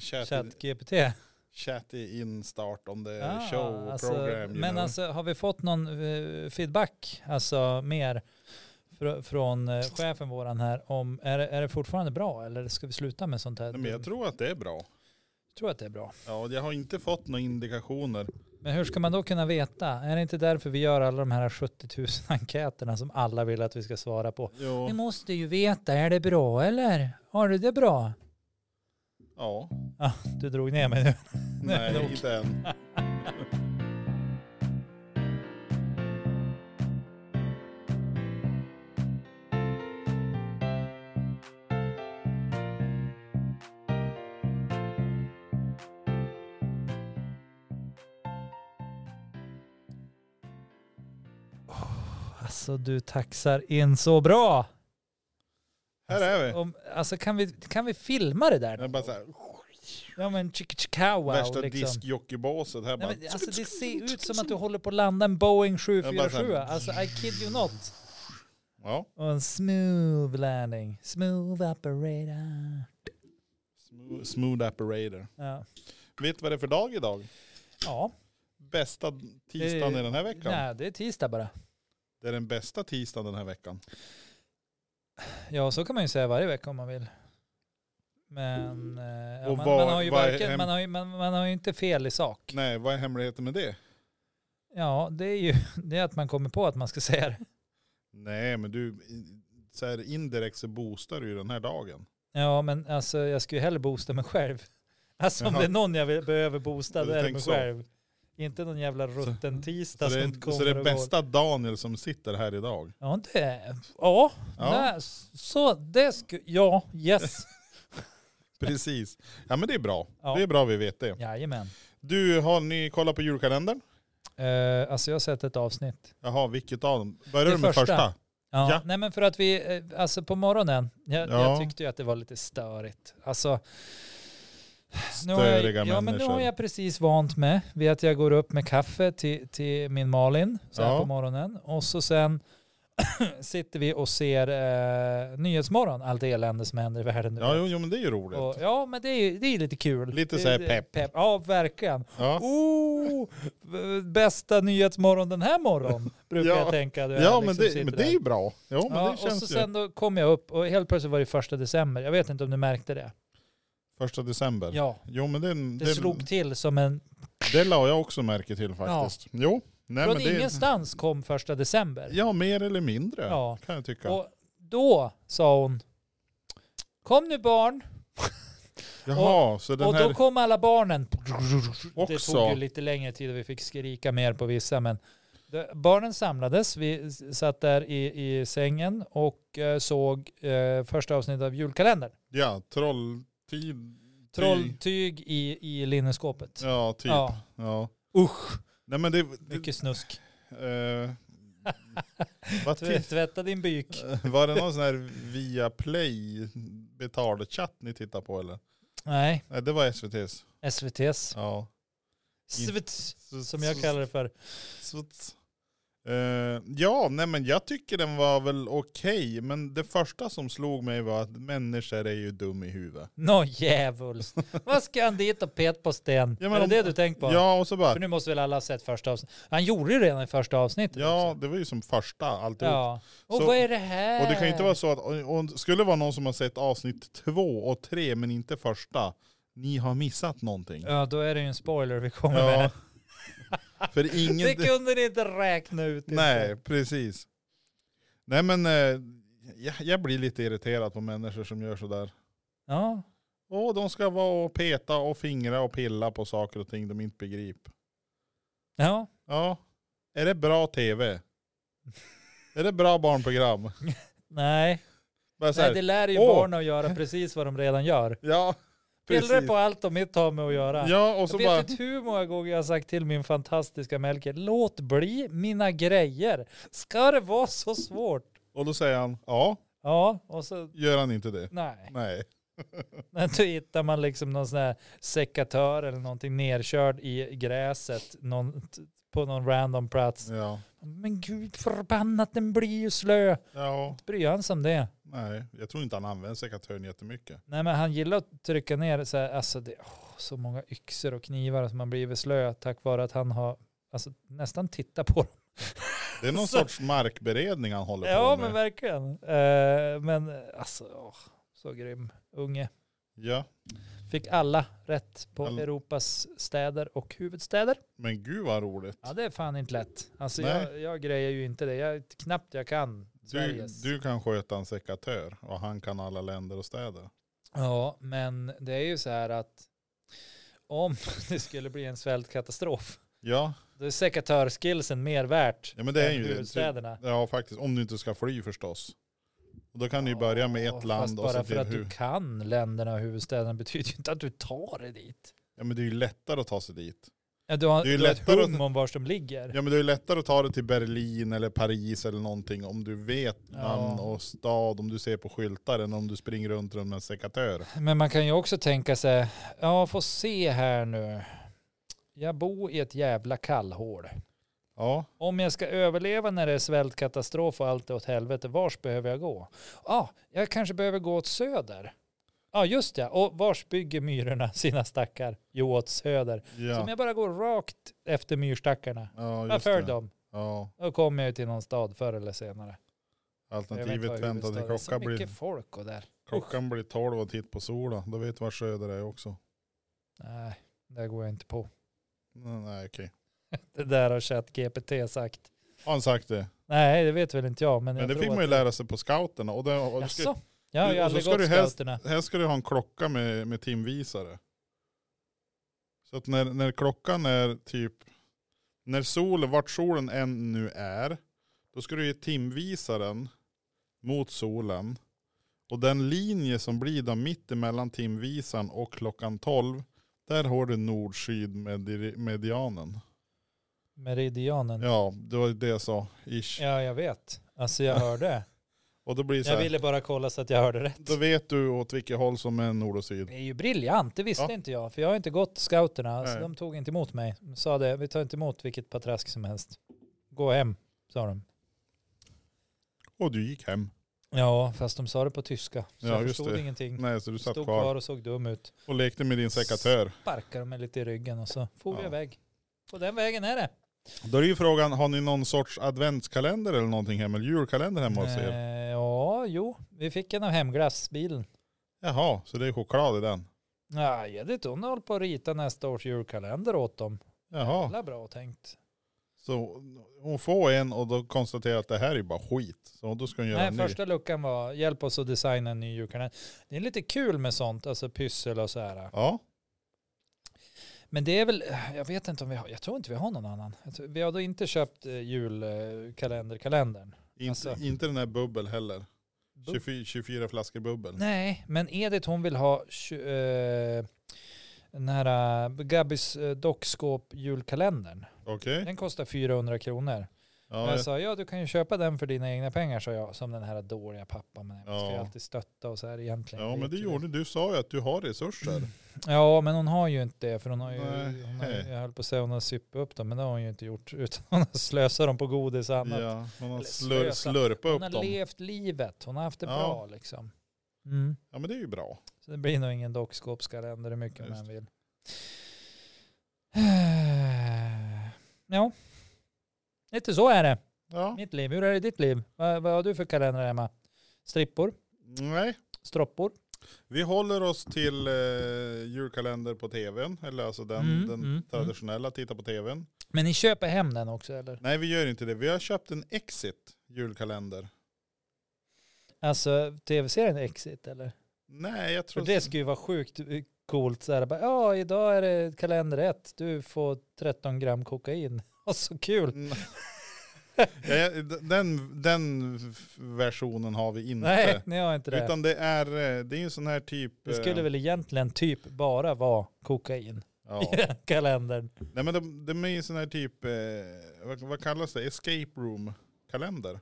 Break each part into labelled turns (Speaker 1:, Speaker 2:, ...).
Speaker 1: chat,
Speaker 2: ChatGPT.
Speaker 1: chat i instart on the
Speaker 2: Ah,
Speaker 1: Eh, show
Speaker 2: alltså,
Speaker 1: program. you
Speaker 2: men
Speaker 1: know.
Speaker 2: alltså har vi fått någon eh, feedback, alltså mer fr- från eh, chefen våran här om, är, det- är det fortfarande bra eller ska vi sluta med sånt här?
Speaker 1: Nej, men jag tror att det är bra.
Speaker 2: tror att det är bra.
Speaker 1: Ja, jag har inte fått några indikationer.
Speaker 2: Men hur ska man då kunna veta? Är det inte därför vi gör alla de här 70 000 enkäterna som alla vill att vi ska svara på?
Speaker 1: Jo,
Speaker 2: Ni måste ju veta, är det bra eller? Har du det bra?
Speaker 1: ja,
Speaker 2: Ah, du drog ner mig nu. Nej,
Speaker 1: nej,
Speaker 2: nog.
Speaker 1: inte än.
Speaker 2: Alltså du taxar in så bra.
Speaker 1: Här är vi.
Speaker 2: Om, alltså kan vi, kan vi filma det där?
Speaker 1: Det är bara så här,
Speaker 2: Ja men chick chick cow wow
Speaker 1: värsta
Speaker 2: liksom.
Speaker 1: diskjockeybåset här
Speaker 2: Nej,
Speaker 1: bara.
Speaker 2: men, alltså det ser ut som att du håller på att landa en Boeing
Speaker 1: bara så
Speaker 2: 747.
Speaker 1: här-
Speaker 2: Alltså I kid you not.
Speaker 1: Ja,
Speaker 2: Och en smooth landing. Smooth operator.
Speaker 1: smooth, smooth operator.
Speaker 2: Ja.
Speaker 1: Vet du vad det är för dag idag?
Speaker 2: ja.
Speaker 1: Bästa tisdagen
Speaker 2: Det-
Speaker 1: i den här veckan.
Speaker 2: Eh, Nej, det är tisdag bara.
Speaker 1: Det är den bästa tisdagen den här veckan.
Speaker 2: Ja, så kan man ju säga varje vecka om man vill. Men eh, ja,
Speaker 1: Mm. Och
Speaker 2: man,
Speaker 1: vad-
Speaker 2: man, har ju
Speaker 1: vad är
Speaker 2: varken,
Speaker 1: hem-
Speaker 2: man, har ju, man, man har ju inte fel i sak.
Speaker 1: Nej, vad är hemligheten med det?
Speaker 2: Ja, det är ju det är att man kommer på att man ska säga det.
Speaker 1: Nej, men du, i- så här indirekt så boostar du ju den här dagen.
Speaker 2: Ja, men alltså jag skulle ju hellre boosta mig själv. Alltså om
Speaker 1: Jaha.
Speaker 2: det är någon jag vill, behöver boosta,
Speaker 1: Ja, du
Speaker 2: då är det
Speaker 1: tänker
Speaker 2: mig
Speaker 1: så.
Speaker 2: själv. Inte någon jävla rutten tisdag
Speaker 1: Så det,
Speaker 2: som
Speaker 1: är,
Speaker 2: kommer
Speaker 1: så det
Speaker 2: och
Speaker 1: är
Speaker 2: går.
Speaker 1: bästa Daniel som sitter här idag.
Speaker 2: Ja, det, ja,
Speaker 1: Ja,
Speaker 2: Nej, så det skulle, ja, yes.
Speaker 1: precis. Ja, men det är bra.
Speaker 2: Ja.
Speaker 1: Det är bra vi vet det.
Speaker 2: Jajamän.
Speaker 1: Du, har ni kollat på julkalendern?
Speaker 2: Uh, alltså jag har sett ett avsnitt.
Speaker 1: Jaha, vilket av dem? Börjar
Speaker 2: Det
Speaker 1: du med
Speaker 2: första.
Speaker 1: första?
Speaker 2: Ja,
Speaker 1: Ja.
Speaker 2: nej men för att vi, eh, alltså på morgonen, jag,
Speaker 1: Ja.
Speaker 2: jag tyckte ju att det var lite störigt. Alltså, nu har jag,
Speaker 1: Störiga
Speaker 2: ja, men nu
Speaker 1: människor.
Speaker 2: har jag precis vant mig vid att jag går upp med kaffe till, till min Malin så här
Speaker 1: Ja.
Speaker 2: på morgonen. Och så sen sitter vi och ser eh, Nyhetsmorgon, allt elände som händer i världen nu.
Speaker 1: Ja, jo, jo, men det är ju roligt.
Speaker 2: och, ja men det är ju det är ju lite kul.
Speaker 1: Lite
Speaker 2: Det-
Speaker 1: så här
Speaker 2: det-
Speaker 1: pepp.
Speaker 2: Ja, verkligen.
Speaker 1: Ja.
Speaker 2: Oh, bästa Nyhetsmorgon den här morgonen, brukar
Speaker 1: Ja.
Speaker 2: jag tänka. du vet,
Speaker 1: Ja, men
Speaker 2: liksom sitter
Speaker 1: det, men det
Speaker 2: där.
Speaker 1: är ju bra. Jo, men
Speaker 2: Ja,
Speaker 1: det
Speaker 2: och
Speaker 1: känns
Speaker 2: så
Speaker 1: ju.
Speaker 2: sen då kom jag upp och helt plötsligt var det första december. Jag vet inte om du märkte det.
Speaker 1: Första december.
Speaker 2: Ja,
Speaker 1: Jo, men det,
Speaker 2: det,
Speaker 1: det,
Speaker 2: slog till som en...
Speaker 1: det la jag också märke till faktiskt. Jo, nej
Speaker 2: från
Speaker 1: men det...
Speaker 2: ingenstans kom första december.
Speaker 1: Ja, mer eller mindre
Speaker 2: Ja.
Speaker 1: kan jag tycka.
Speaker 2: Och då sa hon, kom nu barn.
Speaker 1: Jaha, så den
Speaker 2: och
Speaker 1: här...
Speaker 2: då kom alla barnen. Det
Speaker 1: Också.
Speaker 2: tog ju lite längre tid och vi fick skrika mer på vissa. Men det- barnen samlades, vi s- satt där i, i sängen och eh, såg eh, första avsnittet av julkalendern.
Speaker 1: Ja, trolltid... Tyg.
Speaker 2: Trolltyg i, i linneskåpet.
Speaker 1: Ja, typ. Ja.
Speaker 2: Ja. Usch,
Speaker 1: Nej men det... det
Speaker 2: mycket snusk.
Speaker 1: eh, vad
Speaker 2: Tv-
Speaker 1: tid,
Speaker 2: Tvätta din byk.
Speaker 1: eh, var det någon sån här via play betalchatt ni tittar på eller?
Speaker 2: Nej,
Speaker 1: Nej, det var SVT's.
Speaker 2: SVTs.
Speaker 1: Ja.
Speaker 2: SVT,
Speaker 1: Så-
Speaker 2: som jag
Speaker 1: så-
Speaker 2: kallar det för.
Speaker 1: så- Eh, ja, nej men jag tycker den var väl okej, men det första som slog mig var att människor är ju dum i huvudet.
Speaker 2: Nå djävulskt. Vad ska han dit och pet på sten?
Speaker 1: Ja, men
Speaker 2: är det
Speaker 1: om-
Speaker 2: det du tänkt på?
Speaker 1: Ja, och så bara,
Speaker 2: För nu måste väl alla ha sett första avsnittet. Han gjorde ju redan i första avsnittet.
Speaker 1: ja
Speaker 2: också.
Speaker 1: det var ju som första alltihop.
Speaker 2: liksom. ja. Och
Speaker 1: Så-
Speaker 2: vad är det här?
Speaker 1: Och det kan ju
Speaker 2: Eh.
Speaker 1: inte vara så att, och, och skulle det vara någon som har sett avsnitt två och tre men inte första, ni har missat någonting.
Speaker 2: Ja, då är det ju en spoiler vi kommer
Speaker 1: Ja.
Speaker 2: med.
Speaker 1: För ingen...
Speaker 2: Det kunde ni inte räkna ut. inte.
Speaker 1: Nej, precis. Nej men, eh, jag, jag blir lite irriterad på människor som gör sådär.
Speaker 2: Ja.
Speaker 1: Åh, de ska vara och peta och fingra och pilla på saker och ting de inte begriper.
Speaker 2: ja.
Speaker 1: Ja, är det bra tv? är det bra barnprogram?
Speaker 2: Nej.
Speaker 1: Bara så här,
Speaker 2: Nej, det lär ju
Speaker 1: Åh.
Speaker 2: barn att göra precis vad de redan gör.
Speaker 1: Ja,
Speaker 2: Pillra
Speaker 1: precis.
Speaker 2: på allt de inte har med att göra.
Speaker 1: Ja, och så
Speaker 2: Jag vet
Speaker 1: bara...
Speaker 2: inte hur många gånger jag har sagt till min fantastiska Melker, låt bli mina grejer. Ska det vara så svårt?
Speaker 1: Och då säger han, ja,
Speaker 2: Ja, och så
Speaker 1: gör han inte det?
Speaker 2: nej.
Speaker 1: Nej.
Speaker 2: Men Då hittar man liksom någon sån här sekatör eller någonting nerkörd i gräset, någon t- på någon random plats.
Speaker 1: Ja.
Speaker 2: Men gud förbannat, den blir ju slö.
Speaker 1: ja.
Speaker 2: Bryr han sig om det?
Speaker 1: Nej, jag tror inte han använder sekatörn jättemycket.
Speaker 2: Nej men han gillar att trycka ner så här, alltså det, åh, så många yxor och knivar som man blivit slö tack vare att han har alltså, nästan tittat på dem.
Speaker 1: Det är någon
Speaker 2: Så-
Speaker 1: sorts markberedning han håller
Speaker 2: Ja
Speaker 1: på med.
Speaker 2: men verkligen. Eh, men alltså, åh, så grym unge.
Speaker 1: Ja,
Speaker 2: Fick alla rätt på
Speaker 1: Alla.
Speaker 2: Europas städer och huvudstäder.
Speaker 1: men gud vad roligt.
Speaker 2: Ja det är fan inte lätt. Alltså
Speaker 1: Nej.
Speaker 2: jag, jag grejer ju inte det. Jag, knappt jag kan
Speaker 1: Du,
Speaker 2: Sveriges.
Speaker 1: du kan sköta en sekatör och han kan alla länder och städer.
Speaker 2: Ja, men det är ju så här att om det skulle bli en svältkatastrof,
Speaker 1: Ja,
Speaker 2: då är sekatörskillsen mer värt
Speaker 1: ja men det Typ är
Speaker 2: än
Speaker 1: ju det.
Speaker 2: huvudstäderna.
Speaker 1: Ja faktiskt, om du inte ska fly förstås. Och då kan du ju börja med
Speaker 2: Ja,
Speaker 1: ett land
Speaker 2: Fast
Speaker 1: och så
Speaker 2: bara för
Speaker 1: blir det
Speaker 2: att du
Speaker 1: hur.
Speaker 2: kan länderna och huvudstäderna betyder ju inte att du tar dig dit.
Speaker 1: Ja men det är ju lättare att ta sig dit.
Speaker 2: Ja, Du har,
Speaker 1: Det är ju
Speaker 2: du har ett
Speaker 1: lättare
Speaker 2: hum
Speaker 1: att-
Speaker 2: om var de ligger.
Speaker 1: Ja men det är ju lättare att ta dig till Berlin eller Paris eller någonting om du vet
Speaker 2: Ja.
Speaker 1: namn och stad, om du ser på skyltar än om du springer runt med en sekatör.
Speaker 2: Men man kan ju också tänka sig, ja få se här nu. Jag bor i ett jävla kallhål.
Speaker 1: Ja,
Speaker 2: Om jag ska överleva när det är svältkatastrof och allt är åt helvete, vars behöver jag gå? Ja, ah, jag kanske behöver gå åt söder. Ja, ah, just ja. Och vars bygger myrorna sina stackar? Jo, åt söder. Så om
Speaker 1: ja.
Speaker 2: jag bara går rakt efter myrstackarna,
Speaker 1: ja
Speaker 2: jag
Speaker 1: just
Speaker 2: för
Speaker 1: det.
Speaker 2: dem,
Speaker 1: Ja,
Speaker 2: då kommer jag ju till någon stad förr eller senare. Jag vet
Speaker 1: alternativet
Speaker 2: vad
Speaker 1: vänta
Speaker 2: huvudstaden-
Speaker 1: till
Speaker 2: det är så
Speaker 1: klockan blir,
Speaker 2: mycket folk och där.
Speaker 1: klockan blir tolv och titt på solen. Då vet du var söder är också.
Speaker 2: Nej, det går jag inte på.
Speaker 1: Mm, Nej okej.
Speaker 2: Det där har ChatGPT sagt.
Speaker 1: Har han sagt det?
Speaker 2: Nej, det vet väl inte jag. Men,
Speaker 1: Men
Speaker 2: jag
Speaker 1: det
Speaker 2: tror
Speaker 1: fick man ju
Speaker 2: att-
Speaker 1: lära sig på scouterna. Och det, och du ska,
Speaker 2: Jaså? Jag har ju
Speaker 1: och så
Speaker 2: aldrig
Speaker 1: ska
Speaker 2: gått
Speaker 1: du helst-
Speaker 2: scouterna.
Speaker 1: här ska du ha en klocka med, med timvisare. Så att när, när klockan är typ, när solen, vart solen än nu är, då ska du ge timvisaren mot solen. Och den linje som blir då mitt emellan timvisaren och klockan 12, där har du nord-syd medi- medianen.
Speaker 2: Meridianen.
Speaker 1: Ja, det var ju det jag sa, ish.
Speaker 2: Ja, jag vet. Alltså jag hörde.
Speaker 1: Och då blir det så
Speaker 2: Jag
Speaker 1: här,
Speaker 2: ville bara kolla så att jag hörde rätt.
Speaker 1: då vet du åt vilket håll som är nord och syd.
Speaker 2: Det är ju briljant, det visste
Speaker 1: Ja.
Speaker 2: inte jag. För jag har inte gått scouterna, så
Speaker 1: Nej.
Speaker 2: de tog inte emot mig. De sa det, vi tar inte emot vilket patrask som helst. Gå hem, sa de.
Speaker 1: Och du gick hem.
Speaker 2: Ja, fast de sa det på tyska. Så
Speaker 1: Ja,
Speaker 2: jag
Speaker 1: just
Speaker 2: förstod
Speaker 1: det.
Speaker 2: ingenting.
Speaker 1: Nej, så du satt
Speaker 2: Stod
Speaker 1: kvar.
Speaker 2: kvar och såg dum ut.
Speaker 1: och lekte med din sekatör.
Speaker 2: Sparkade de mig lite i ryggen och så for vi
Speaker 1: Ja.
Speaker 2: iväg. På den vägen är det.
Speaker 1: Då är ju frågan, har ni någon sorts adventskalender eller någonting hemma? Eller julkalender hemma hos er?
Speaker 2: Eh, ja, jo. Vi fick en av hemglassbilen.
Speaker 1: Jaha, så det är choklad i den?
Speaker 2: Nej, ja, det hon håller på att rita nästa års julkalender åt dem.
Speaker 1: Jaha,
Speaker 2: Jävla bra tänkt.
Speaker 1: så hon får en och då konstaterar att det här är ju bara skit. Så då ska hon göra
Speaker 2: Nej,
Speaker 1: en ny.
Speaker 2: första luckan var hjälp oss att designa en ny julkalender. Det är lite kul med sånt, alltså pyssel och så här.
Speaker 1: Ja,
Speaker 2: Men det är väl, jag vet inte om vi har, jag tror inte vi har någon annan. Jag tror- Vi har då inte köpt eh, julkalenderkalendern.
Speaker 1: inte,
Speaker 2: Alltså-
Speaker 1: inte den här bubbel heller.
Speaker 2: Bubbel?
Speaker 1: 24, 24 flaskor bubbel.
Speaker 2: Nej, men Edith hon vill ha tju- eh, den här eh, Gabbys eh, dockskåp julkalendern.
Speaker 1: Okej.
Speaker 2: Den kostar 400 kronor. Men
Speaker 1: Mm. Ja,
Speaker 2: jag sa, ja du kan ju köpa den för dina egna pengar, sa jag, som den här dåliga pappan. Men man ska ju
Speaker 1: Ja.
Speaker 2: alltid stötta och så här egentligen.
Speaker 1: ja, men
Speaker 2: vet
Speaker 1: det
Speaker 2: ju
Speaker 1: gjorde du. sa ju att du har
Speaker 2: Mm.
Speaker 1: resurser.
Speaker 2: Ja, men hon har ju inte det, för hon har ju,
Speaker 1: Nej.
Speaker 2: hon har, ju- jag höll på att säga hon har supit upp dem, men det har hon ju inte gjort, utan hon har slösat dem på godis och annat.
Speaker 1: Ja, man har
Speaker 2: Eller
Speaker 1: slur,
Speaker 2: slösa.
Speaker 1: slurpat
Speaker 2: hon
Speaker 1: upp
Speaker 2: har
Speaker 1: dem.
Speaker 2: levt livet, hon har haft det
Speaker 1: Ja.
Speaker 2: bra liksom. Mm.
Speaker 1: Ja, men det är ju bra.
Speaker 2: Så det blir nog ingen dockskåpskalender hur mycket man
Speaker 1: Just.
Speaker 2: än vill. Ja, lite så är det.
Speaker 1: Ja,
Speaker 2: Mitt liv, hur är det i ditt liv? Vad, vad har du för kalender hemma? Strippor?
Speaker 1: nej.
Speaker 2: Stroppor?
Speaker 1: Vi håller oss till eh, julkalender på tvn, eller alltså den,
Speaker 2: Mm,
Speaker 1: den
Speaker 2: mm,
Speaker 1: traditionella, titta på tvn.
Speaker 2: Men ni köper hem den också eller?
Speaker 1: Nej vi gör inte det, vi har köpt en Exit julkalender.
Speaker 2: Alltså tv-serien Exit eller?
Speaker 1: Nej jag
Speaker 2: För
Speaker 1: tror...
Speaker 2: det skulle ju vara sjukt eh, coolt. Så här, bara, ja, idag är det kalender 1. Du får 13 gram kokain. Och så kul.
Speaker 1: Mm. ja, ja, d- den, den f- versionen har vi inte.
Speaker 2: Nej, ni har inte det.
Speaker 1: Utan det är, eh, det är ju en sån här typ...
Speaker 2: Det skulle
Speaker 1: eh,
Speaker 2: väl egentligen typ bara vara kokain
Speaker 1: Ja.
Speaker 2: i den kalendern.
Speaker 1: Nej men de, de är ju en sån här typ, eh, vad, vad kallas det, escape room kalender.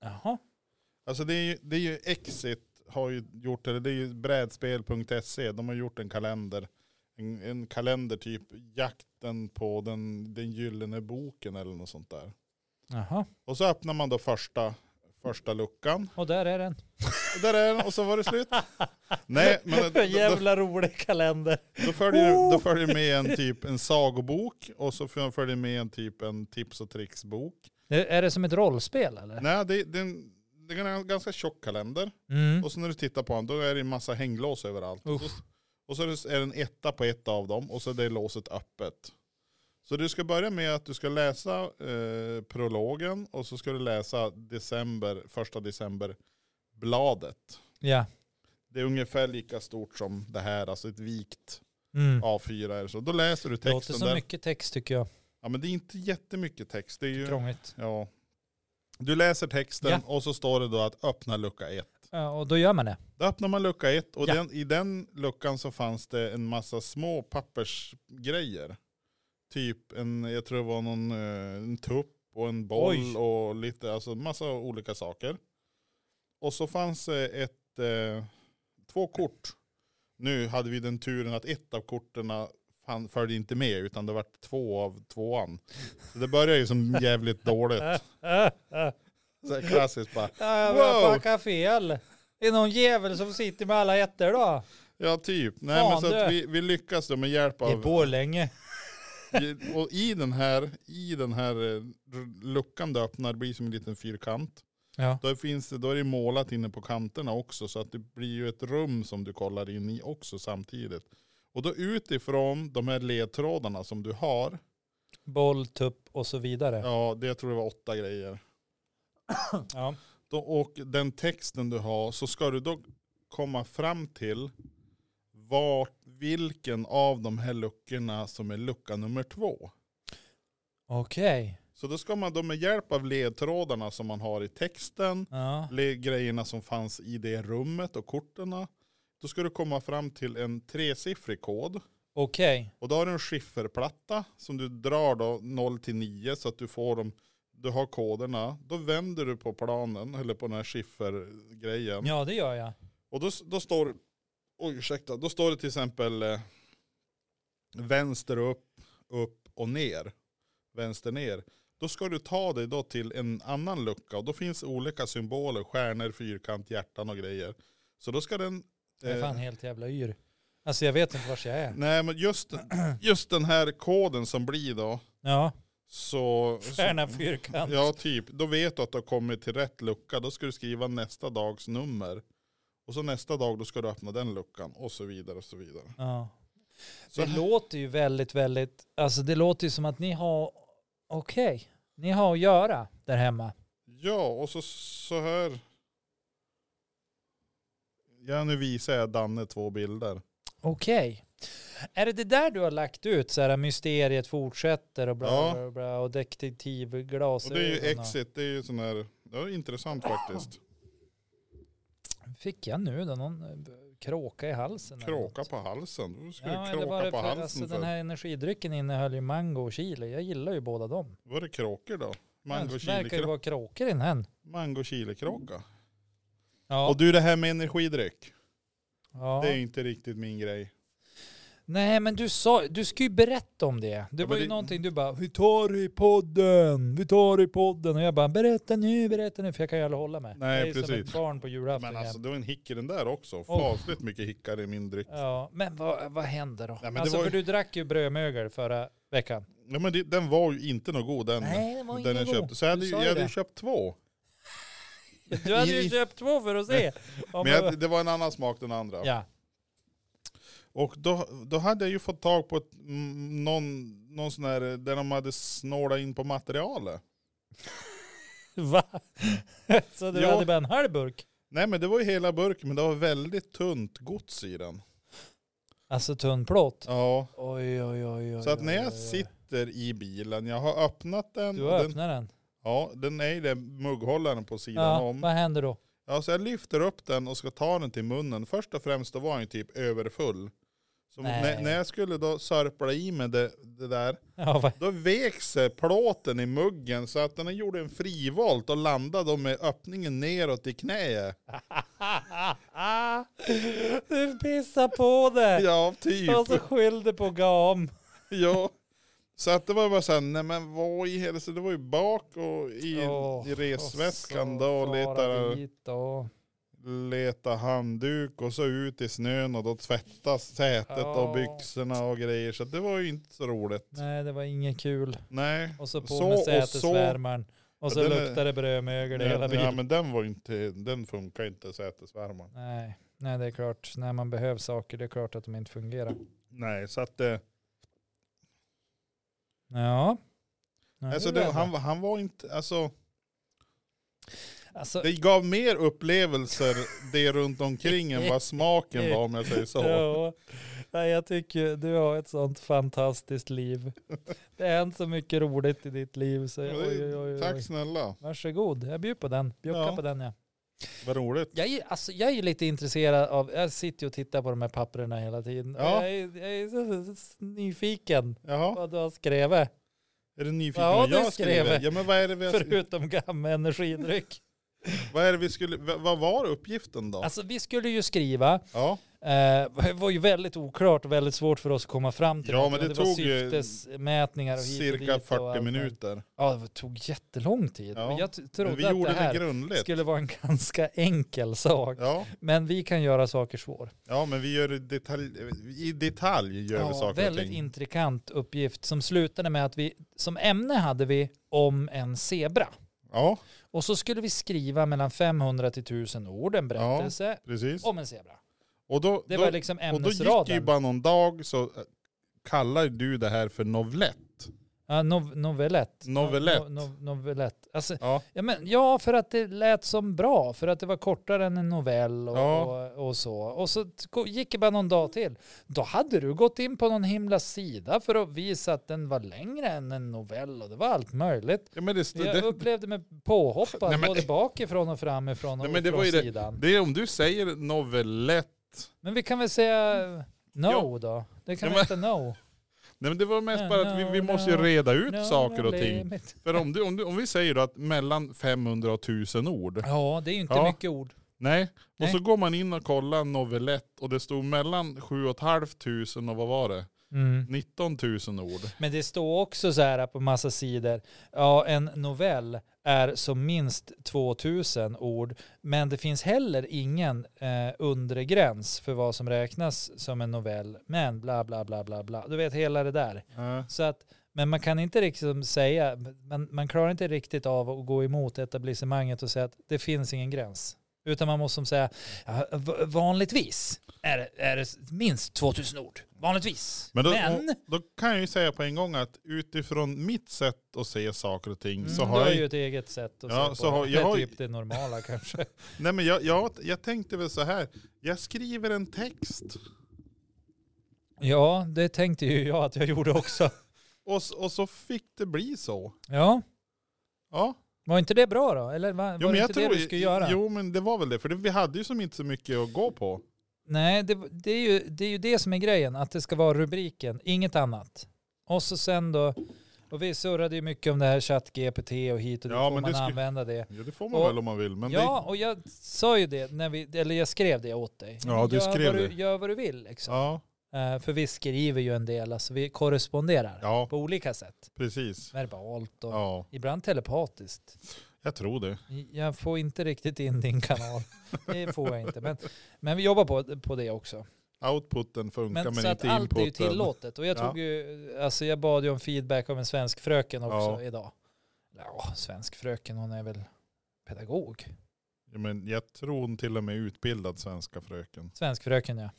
Speaker 2: Jaha.
Speaker 1: Alltså det är ju, det är ju Exit har ju gjort det, det är ju brädspel.se, de har gjort en kalender en, en kalender typ jakten på den, den gyllene boken eller något sånt där.
Speaker 2: Jaha,
Speaker 1: Och så öppnar man då första, första luckan.
Speaker 2: och där är den.
Speaker 1: Och där är den och så var det slut. Nej, men då, då,
Speaker 2: Jävla rolig kalender.
Speaker 1: då, följer, då följer med en typ en sagobok och så följer med en typ en tips och tricksbok.
Speaker 2: Nu, Är det som ett rollspel eller?
Speaker 1: Nej, det, det, är en- det är en ganska tjock kalender.
Speaker 2: Mm.
Speaker 1: Och så när du tittar på den, då är det en massa hänglås överallt. Och
Speaker 2: Uff.
Speaker 1: så, och så är det- är det en etta på ett av dem och så är det låset öppet. Så du ska börja med att du ska läsa eh, prologen och så ska du läsa december, första december bladet.
Speaker 2: Ja.
Speaker 1: Det är ungefär lika stort som det här, alltså ett vikt
Speaker 2: Mm.
Speaker 1: A4 är det så. Då läser du
Speaker 2: Det låter
Speaker 1: texten
Speaker 2: som
Speaker 1: där.
Speaker 2: mycket text tycker jag.
Speaker 1: Ja men det är inte jättemycket text. Det är ju,
Speaker 2: Krångligt.
Speaker 1: ja. Du läser texten
Speaker 2: Ja.
Speaker 1: och så står det då att öppna lucka ett.
Speaker 2: Ja, och då gör man det.
Speaker 1: Då öppnade man lucka ett och
Speaker 2: Ja.
Speaker 1: den, i den luckan så fanns det en massa små pappersgrejer. Typ en, jag tror det var någon, eh, en tupp och en boll
Speaker 2: Oj.
Speaker 1: och lite, alltså massa olika saker. Och så fanns det ett, eh, två kort. Nu hade vi den turen att ett av korten fan- följde inte med utan det var två av tvåan. Så det började ju som jävligt dåligt.
Speaker 2: Äh,
Speaker 1: Så här klassiskt bara.
Speaker 2: Ja, jag
Speaker 1: vill Wow. ha
Speaker 2: packa fel. Det är någon jävel som sitter med alla ettor då.
Speaker 1: Ja typ. Nej
Speaker 2: Fan,
Speaker 1: men så att
Speaker 2: du.
Speaker 1: vi, vi lyckas då med hjälp
Speaker 2: Det är
Speaker 1: av
Speaker 2: Borlänge.
Speaker 1: I- Och i den här, i den här eh, r- luckan du öppnar blir som en liten fyrkant.
Speaker 2: Ja.
Speaker 1: Då, finns det, då är det målat inne på kanterna också så att det blir ju ett rum som du kollar in i också samtidigt. Och då utifrån de här ledtrådarna som du har,
Speaker 2: Boll, tupp och så vidare.
Speaker 1: ja det jag tror det var åtta grejer.
Speaker 2: Ja.
Speaker 1: Då, och den texten du har så ska du då komma fram till vart, vilken av de här luckorna som är lucka nummer två.
Speaker 2: Okej.
Speaker 1: Så då ska man då med hjälp av ledtrådarna som man har i texten,
Speaker 2: Ja.
Speaker 1: le- grejerna som fanns i det rummet och korten. Då ska du komma fram till en tresiffrig kod.
Speaker 2: Okej.
Speaker 1: Och då har du en skifferplatta som du drar då 0 till 9 så att du får dem, du har koderna. Då vänder du på planen, eller på den här skiffergrejen.
Speaker 2: Ja, det gör jag.
Speaker 1: Och då, då står, oj ursäkta, då står det till exempel eh, vänster upp, upp och ner. Vänster ner. Då ska du ta dig då till en annan lucka och då finns olika symboler, stjärnor, fyrkant, hjärtan och grejer. Så då ska den...
Speaker 2: Jag är
Speaker 1: eh,
Speaker 2: fan helt jävla yr. Alltså jag vet inte vart jag är.
Speaker 1: nej men just, just den här koden som blir då
Speaker 2: Ja.
Speaker 1: så...
Speaker 2: Stjärna,
Speaker 1: så-
Speaker 2: fyrkant.
Speaker 1: Ja typ, då vet du att du har kommit till rätt lucka. Då ska du skriva nästa dags nummer. Och så nästa dag då ska du öppna den luckan och så vidare och så vidare.
Speaker 2: Ja.
Speaker 1: Så
Speaker 2: Det
Speaker 1: här-
Speaker 2: låter ju väldigt, väldigt, alltså det låter ju som att ni har, okej, ni har att göra där hemma.
Speaker 1: Ja, och så, så här. Ja, nu visar jag Danne två bilder.
Speaker 2: Okej. Är det det där du har lagt ut, så här mysteriet fortsätter och bla
Speaker 1: Ja.
Speaker 2: bla bla och detektivglas?
Speaker 1: Och det är ju Exit, det är ju sån här, det är intressant faktiskt.
Speaker 2: Fick jag nu då någon eh, kråka i halsen? eller
Speaker 1: Kråka
Speaker 2: något?
Speaker 1: på halsen. Du ska
Speaker 2: Ja,
Speaker 1: ju
Speaker 2: eller var
Speaker 1: kråka
Speaker 2: det
Speaker 1: på
Speaker 2: för,
Speaker 1: halsen typ.
Speaker 2: alltså
Speaker 1: för.
Speaker 2: den här energidrycken innehöll ju mango och chili. Jag gillar ju båda dem.
Speaker 1: Var det kråkor då?
Speaker 2: Ja,
Speaker 1: Mango
Speaker 2: det verkar ju
Speaker 1: chili
Speaker 2: vara kråkor i den. här.
Speaker 1: mango kråka.
Speaker 2: Ja.
Speaker 1: Och du det här med energidryck.
Speaker 2: ja.
Speaker 1: Det är ju inte riktigt min grej.
Speaker 2: Nej men du sa, du ska ju berätta om det. Det
Speaker 1: men
Speaker 2: var ju
Speaker 1: det-
Speaker 2: någonting du bara, vi tar det i podden, vi tar det i podden. Och jag bara, berätta nu, berätta nu, för jag kan ju aldrig hålla mig.
Speaker 1: Nej,
Speaker 2: jag är som
Speaker 1: precis.
Speaker 2: ett barn på julafton.
Speaker 1: Men
Speaker 2: igen.
Speaker 1: alltså det var en hick i den där också.
Speaker 2: Oh.
Speaker 1: Fasligt mycket hickar i min dryck.
Speaker 2: Ja, men vad, vad händer då?
Speaker 1: men det
Speaker 2: alltså
Speaker 1: var
Speaker 2: för
Speaker 1: ju-
Speaker 2: du drack ju brödmögel förra veckan.
Speaker 1: Ja, men det, den var ju inte något god den.
Speaker 2: Nej, det var
Speaker 1: den
Speaker 2: ingen
Speaker 1: jag
Speaker 2: god.
Speaker 1: köpte. Så jag hade,
Speaker 2: Du
Speaker 1: ju-
Speaker 2: sa
Speaker 1: jag
Speaker 2: ju
Speaker 1: hade ju
Speaker 2: det.
Speaker 1: köpt två.
Speaker 2: Du hade
Speaker 1: i-
Speaker 2: ju köpt två för att se. Ja,
Speaker 1: Men jag, det var en annan smak den andra.
Speaker 2: ja.
Speaker 1: Och då, då hade jag ju fått tag på ett, mm, någon, någon sån här eh, där de hade snålat in på materialet.
Speaker 2: Va? Så du
Speaker 1: Ja.
Speaker 2: hade bara en halv burk?
Speaker 1: Nej men det var ju hela burken men det var väldigt tunt gods i den.
Speaker 2: Alltså tunn plåt.
Speaker 1: Ja.
Speaker 2: Oj, oj, oj, oj.
Speaker 1: Så att när
Speaker 2: oj,
Speaker 1: jag
Speaker 2: oj, oj.
Speaker 1: sitter i bilen, jag har öppnat den.
Speaker 2: Du
Speaker 1: och den
Speaker 2: öppnar den.
Speaker 1: ja, den är i den mugghållaren på sidan
Speaker 2: Ja,
Speaker 1: om.
Speaker 2: vad händer då?
Speaker 1: Ja, så jag lyfter upp den och ska ta den till munnen. Först och främst då var den ju typ överfull. Så
Speaker 2: Nej.
Speaker 1: när, när jag skulle då sörpla i mig det, det där,
Speaker 2: Ja, va?
Speaker 1: då vek sig plåten i muggen så att den gjorde en frivolt och landade då med öppningen neråt i knäet.
Speaker 2: du pissar på det.
Speaker 1: Ja, typ.
Speaker 2: Och så skyllde på gam.
Speaker 1: Ja. Så att det var bara såhär, nej men vad i hela, så det var ju bak och i,
Speaker 2: Åh,
Speaker 1: i resväskan
Speaker 2: och
Speaker 1: då
Speaker 2: så
Speaker 1: och
Speaker 2: fara
Speaker 1: letade
Speaker 2: dit och-
Speaker 1: leta handduk och så ut i snön och då tvättas sätet och
Speaker 2: Ja.
Speaker 1: byxorna och grejer. Så det var ju inte så roligt.
Speaker 2: Nej, det var inget kul.
Speaker 1: Nej.
Speaker 2: Och så på
Speaker 1: Så
Speaker 2: med
Speaker 1: och så-
Speaker 2: sätesvärmaren. Och så
Speaker 1: Ja, den är-
Speaker 2: luktade det brödmögel i hela
Speaker 1: Den, ja
Speaker 2: bilen.
Speaker 1: men den var ju inte, den funkar ju inte sätesvärmaren.
Speaker 2: Nej, nej, det är klart. När man behöver saker, det är klart att de inte fungerar.
Speaker 1: Nej så att eh, det,
Speaker 2: Ja. ja
Speaker 1: alltså
Speaker 2: det
Speaker 1: det,
Speaker 2: är
Speaker 1: han, han var inte, alltså
Speaker 2: Alltså,
Speaker 1: det gav mer upplevelser det runt omkring än vad smaken var om jag säger så.
Speaker 2: Ja, nej, jag tycker ju- du har ett sånt fantastiskt liv. Det har hänt så mycket roligt i ditt liv. Så,
Speaker 1: Ja,
Speaker 2: oj,
Speaker 1: det-
Speaker 2: oj, oj,
Speaker 1: Tack
Speaker 2: oj.
Speaker 1: snälla,
Speaker 2: Varsågod, jag bjuder på den. Bjucka
Speaker 1: Ja.
Speaker 2: på den ja.
Speaker 1: vad roligt.
Speaker 2: Jag är, alltså, jag är ju lite intresserad av, jag sitter ju och tittar på de här papperna hela tiden. Och
Speaker 1: Ja.
Speaker 2: Jag, är, jag är så, så, så nyfiken
Speaker 1: Jaha,
Speaker 2: vad du har skrivit,
Speaker 1: är du nyfiken
Speaker 2: Ja,
Speaker 1: vad
Speaker 2: det
Speaker 1: jag
Speaker 2: skrev
Speaker 1: skriver?
Speaker 2: jag.
Speaker 1: Ja men vad är det vi, har-
Speaker 2: förutom gamla energidryck.
Speaker 1: vad är det vi skulle, vad vad var uppgiften då?
Speaker 2: Alltså vi skulle ju skriva,
Speaker 1: Ja,
Speaker 2: eh, det var ju väldigt oklart och väldigt svårt för oss att komma fram till
Speaker 1: Ja,
Speaker 2: något.
Speaker 1: men
Speaker 2: Och
Speaker 1: det
Speaker 2: var
Speaker 1: tog ju
Speaker 2: syftesmätningar och hit och dit
Speaker 1: cirka
Speaker 2: och allt
Speaker 1: 40
Speaker 2: möjligt.
Speaker 1: minuter.
Speaker 2: Ja, det tog jättelång tid.
Speaker 1: Ja,
Speaker 2: Jag t-
Speaker 1: Men vi
Speaker 2: trodde att det
Speaker 1: gjorde det
Speaker 2: här
Speaker 1: grundligt.
Speaker 2: skulle vara en ganska enkel sak.
Speaker 1: Ja,
Speaker 2: Men vi kan göra saker svår.
Speaker 1: ja men vi gör det detalj, i detalj gör vi saker och
Speaker 2: väldigt
Speaker 1: ting.
Speaker 2: intrikant uppgift som slutade med att vi som ämne hade vi om en zebra.
Speaker 1: Ja,
Speaker 2: Och så skulle vi skriva mellan 500 till 1000 ord, en berättelse
Speaker 1: precis.
Speaker 2: om en zebra.
Speaker 1: Och då,
Speaker 2: Det
Speaker 1: då,
Speaker 2: var liksom
Speaker 1: och då gick det ju
Speaker 2: ämnesraden.
Speaker 1: bara någon dag så eh, kallar du det här för novlett.
Speaker 2: Ja, nov novellett.
Speaker 1: Novellett.
Speaker 2: No- no- novellett. Alltså,
Speaker 1: Ja,
Speaker 2: ja, men, ja, för att det lät som bra, för att det var kortare än en novell och,
Speaker 1: Ja.
Speaker 2: och, och så. Och så t- gå- gick det bara någon dag till. Då hade du gått in på någon himla sida för att visa att den var längre än en novell och det var allt möjligt.
Speaker 1: ja men det,
Speaker 2: Jag
Speaker 1: det,
Speaker 2: upplevde mig påhoppad
Speaker 1: Nej, men-
Speaker 2: både bakifrån och framifrån och
Speaker 1: Nej, men det
Speaker 2: från
Speaker 1: var ju det-
Speaker 2: sidan.
Speaker 1: det är om du säger novellett.
Speaker 2: Men vi kan väl säga no då? Det kan
Speaker 1: Ja,
Speaker 2: vi
Speaker 1: men-
Speaker 2: heta no.
Speaker 1: Nej men det var mest
Speaker 2: No,
Speaker 1: bara att vi, vi
Speaker 2: no,
Speaker 1: måste ju
Speaker 2: no.
Speaker 1: reda ut
Speaker 2: no
Speaker 1: saker och
Speaker 2: no
Speaker 1: ting.
Speaker 2: limit.
Speaker 1: För om, du, om, du, om vi säger då att mellan 500 och 1000 ord.
Speaker 2: Ja, det är ju inte
Speaker 1: Ja.
Speaker 2: mycket ord.
Speaker 1: Nej. Och
Speaker 2: Nej.
Speaker 1: så går man in och kollar novellett och det stod mellan 7 500 och vad var det? Mm. 19 000 ord.
Speaker 2: Men det står också så här på massa sidor. Ja, en novell är som minst 2000 ord, men det finns heller ingen eh, undre gräns för vad som räknas som en novell. Men bla bla bla bla bla. Du vet hela det där.
Speaker 1: Ja.
Speaker 2: Så att, men man kan inte liksom säga, man, man klarar inte riktigt av att gå emot etablissemanget och säga att det finns ingen gräns. Utan man måste som säga, ja, v- vanligtvis är det, är det minst 2000 ord. Vanligtvis.
Speaker 1: Men, då,
Speaker 2: Men
Speaker 1: och- då kan jag ju säga på en gång att utifrån mitt sätt att se saker och ting så
Speaker 2: Mm,
Speaker 1: har
Speaker 2: du har
Speaker 1: jag ju
Speaker 2: ju ett eget sätt att
Speaker 1: Ja,
Speaker 2: se på
Speaker 1: så har-
Speaker 2: det.
Speaker 1: jag har
Speaker 2: det
Speaker 1: ju-
Speaker 2: är typ det normala kanske.
Speaker 1: Nej men jag, jag, jag tänkte väl så här. Jag skriver en text.
Speaker 2: Ja, det tänkte ju jag att jag gjorde också.
Speaker 1: Och, s- och så fick det bli så.
Speaker 2: Ja,
Speaker 1: Ja.
Speaker 2: var inte det bra då? Eller var, var det inte det du skulle göra?
Speaker 1: Jo men det var väl det. För det, vi hade ju som inte så mycket att gå på.
Speaker 2: Nej, det, det, är ju, det är ju det som är grejen, att det ska vara rubriken, inget annat. Och så sen då, och vi surrade ju mycket om det här ChatGPT och hit och dit,
Speaker 1: Ja,
Speaker 2: får
Speaker 1: men
Speaker 2: man
Speaker 1: det skulle-
Speaker 2: använda det?
Speaker 1: Ja det får man
Speaker 2: Och-
Speaker 1: väl om man vill. Men
Speaker 2: Ja, och jag sa ju det, när vi, eller jag skrev det åt dig.
Speaker 1: Ja, du
Speaker 2: gör
Speaker 1: skrev
Speaker 2: vad
Speaker 1: det.
Speaker 2: Du, gör vad du vill
Speaker 1: det,
Speaker 2: liksom.
Speaker 1: ja,
Speaker 2: Eh, för vi skriver ju en del, alltså vi korresponderar
Speaker 1: ja
Speaker 2: på olika sätt.
Speaker 1: precis.
Speaker 2: Verbalt och
Speaker 1: Ja,
Speaker 2: Ibland telepatiskt.
Speaker 1: jag tror det.
Speaker 2: Jag får inte riktigt in din kanal. Det får jag inte. Men, men vi jobbar på, på det också.
Speaker 1: Outputen funkar men,
Speaker 2: Men, så att
Speaker 1: inte
Speaker 2: allt är ju
Speaker 1: inputen.
Speaker 2: tillåtet. Och jag,
Speaker 1: Ja.
Speaker 2: tog ju, alltså jag bad ju om feedback av en svensk fröken också
Speaker 1: Ja.
Speaker 2: idag. Ja, svensk fröken, hon är väl pedagog.
Speaker 1: ja, men jag tror hon till och med är utbildad svenska fröken.
Speaker 2: Svensk fröken, ja.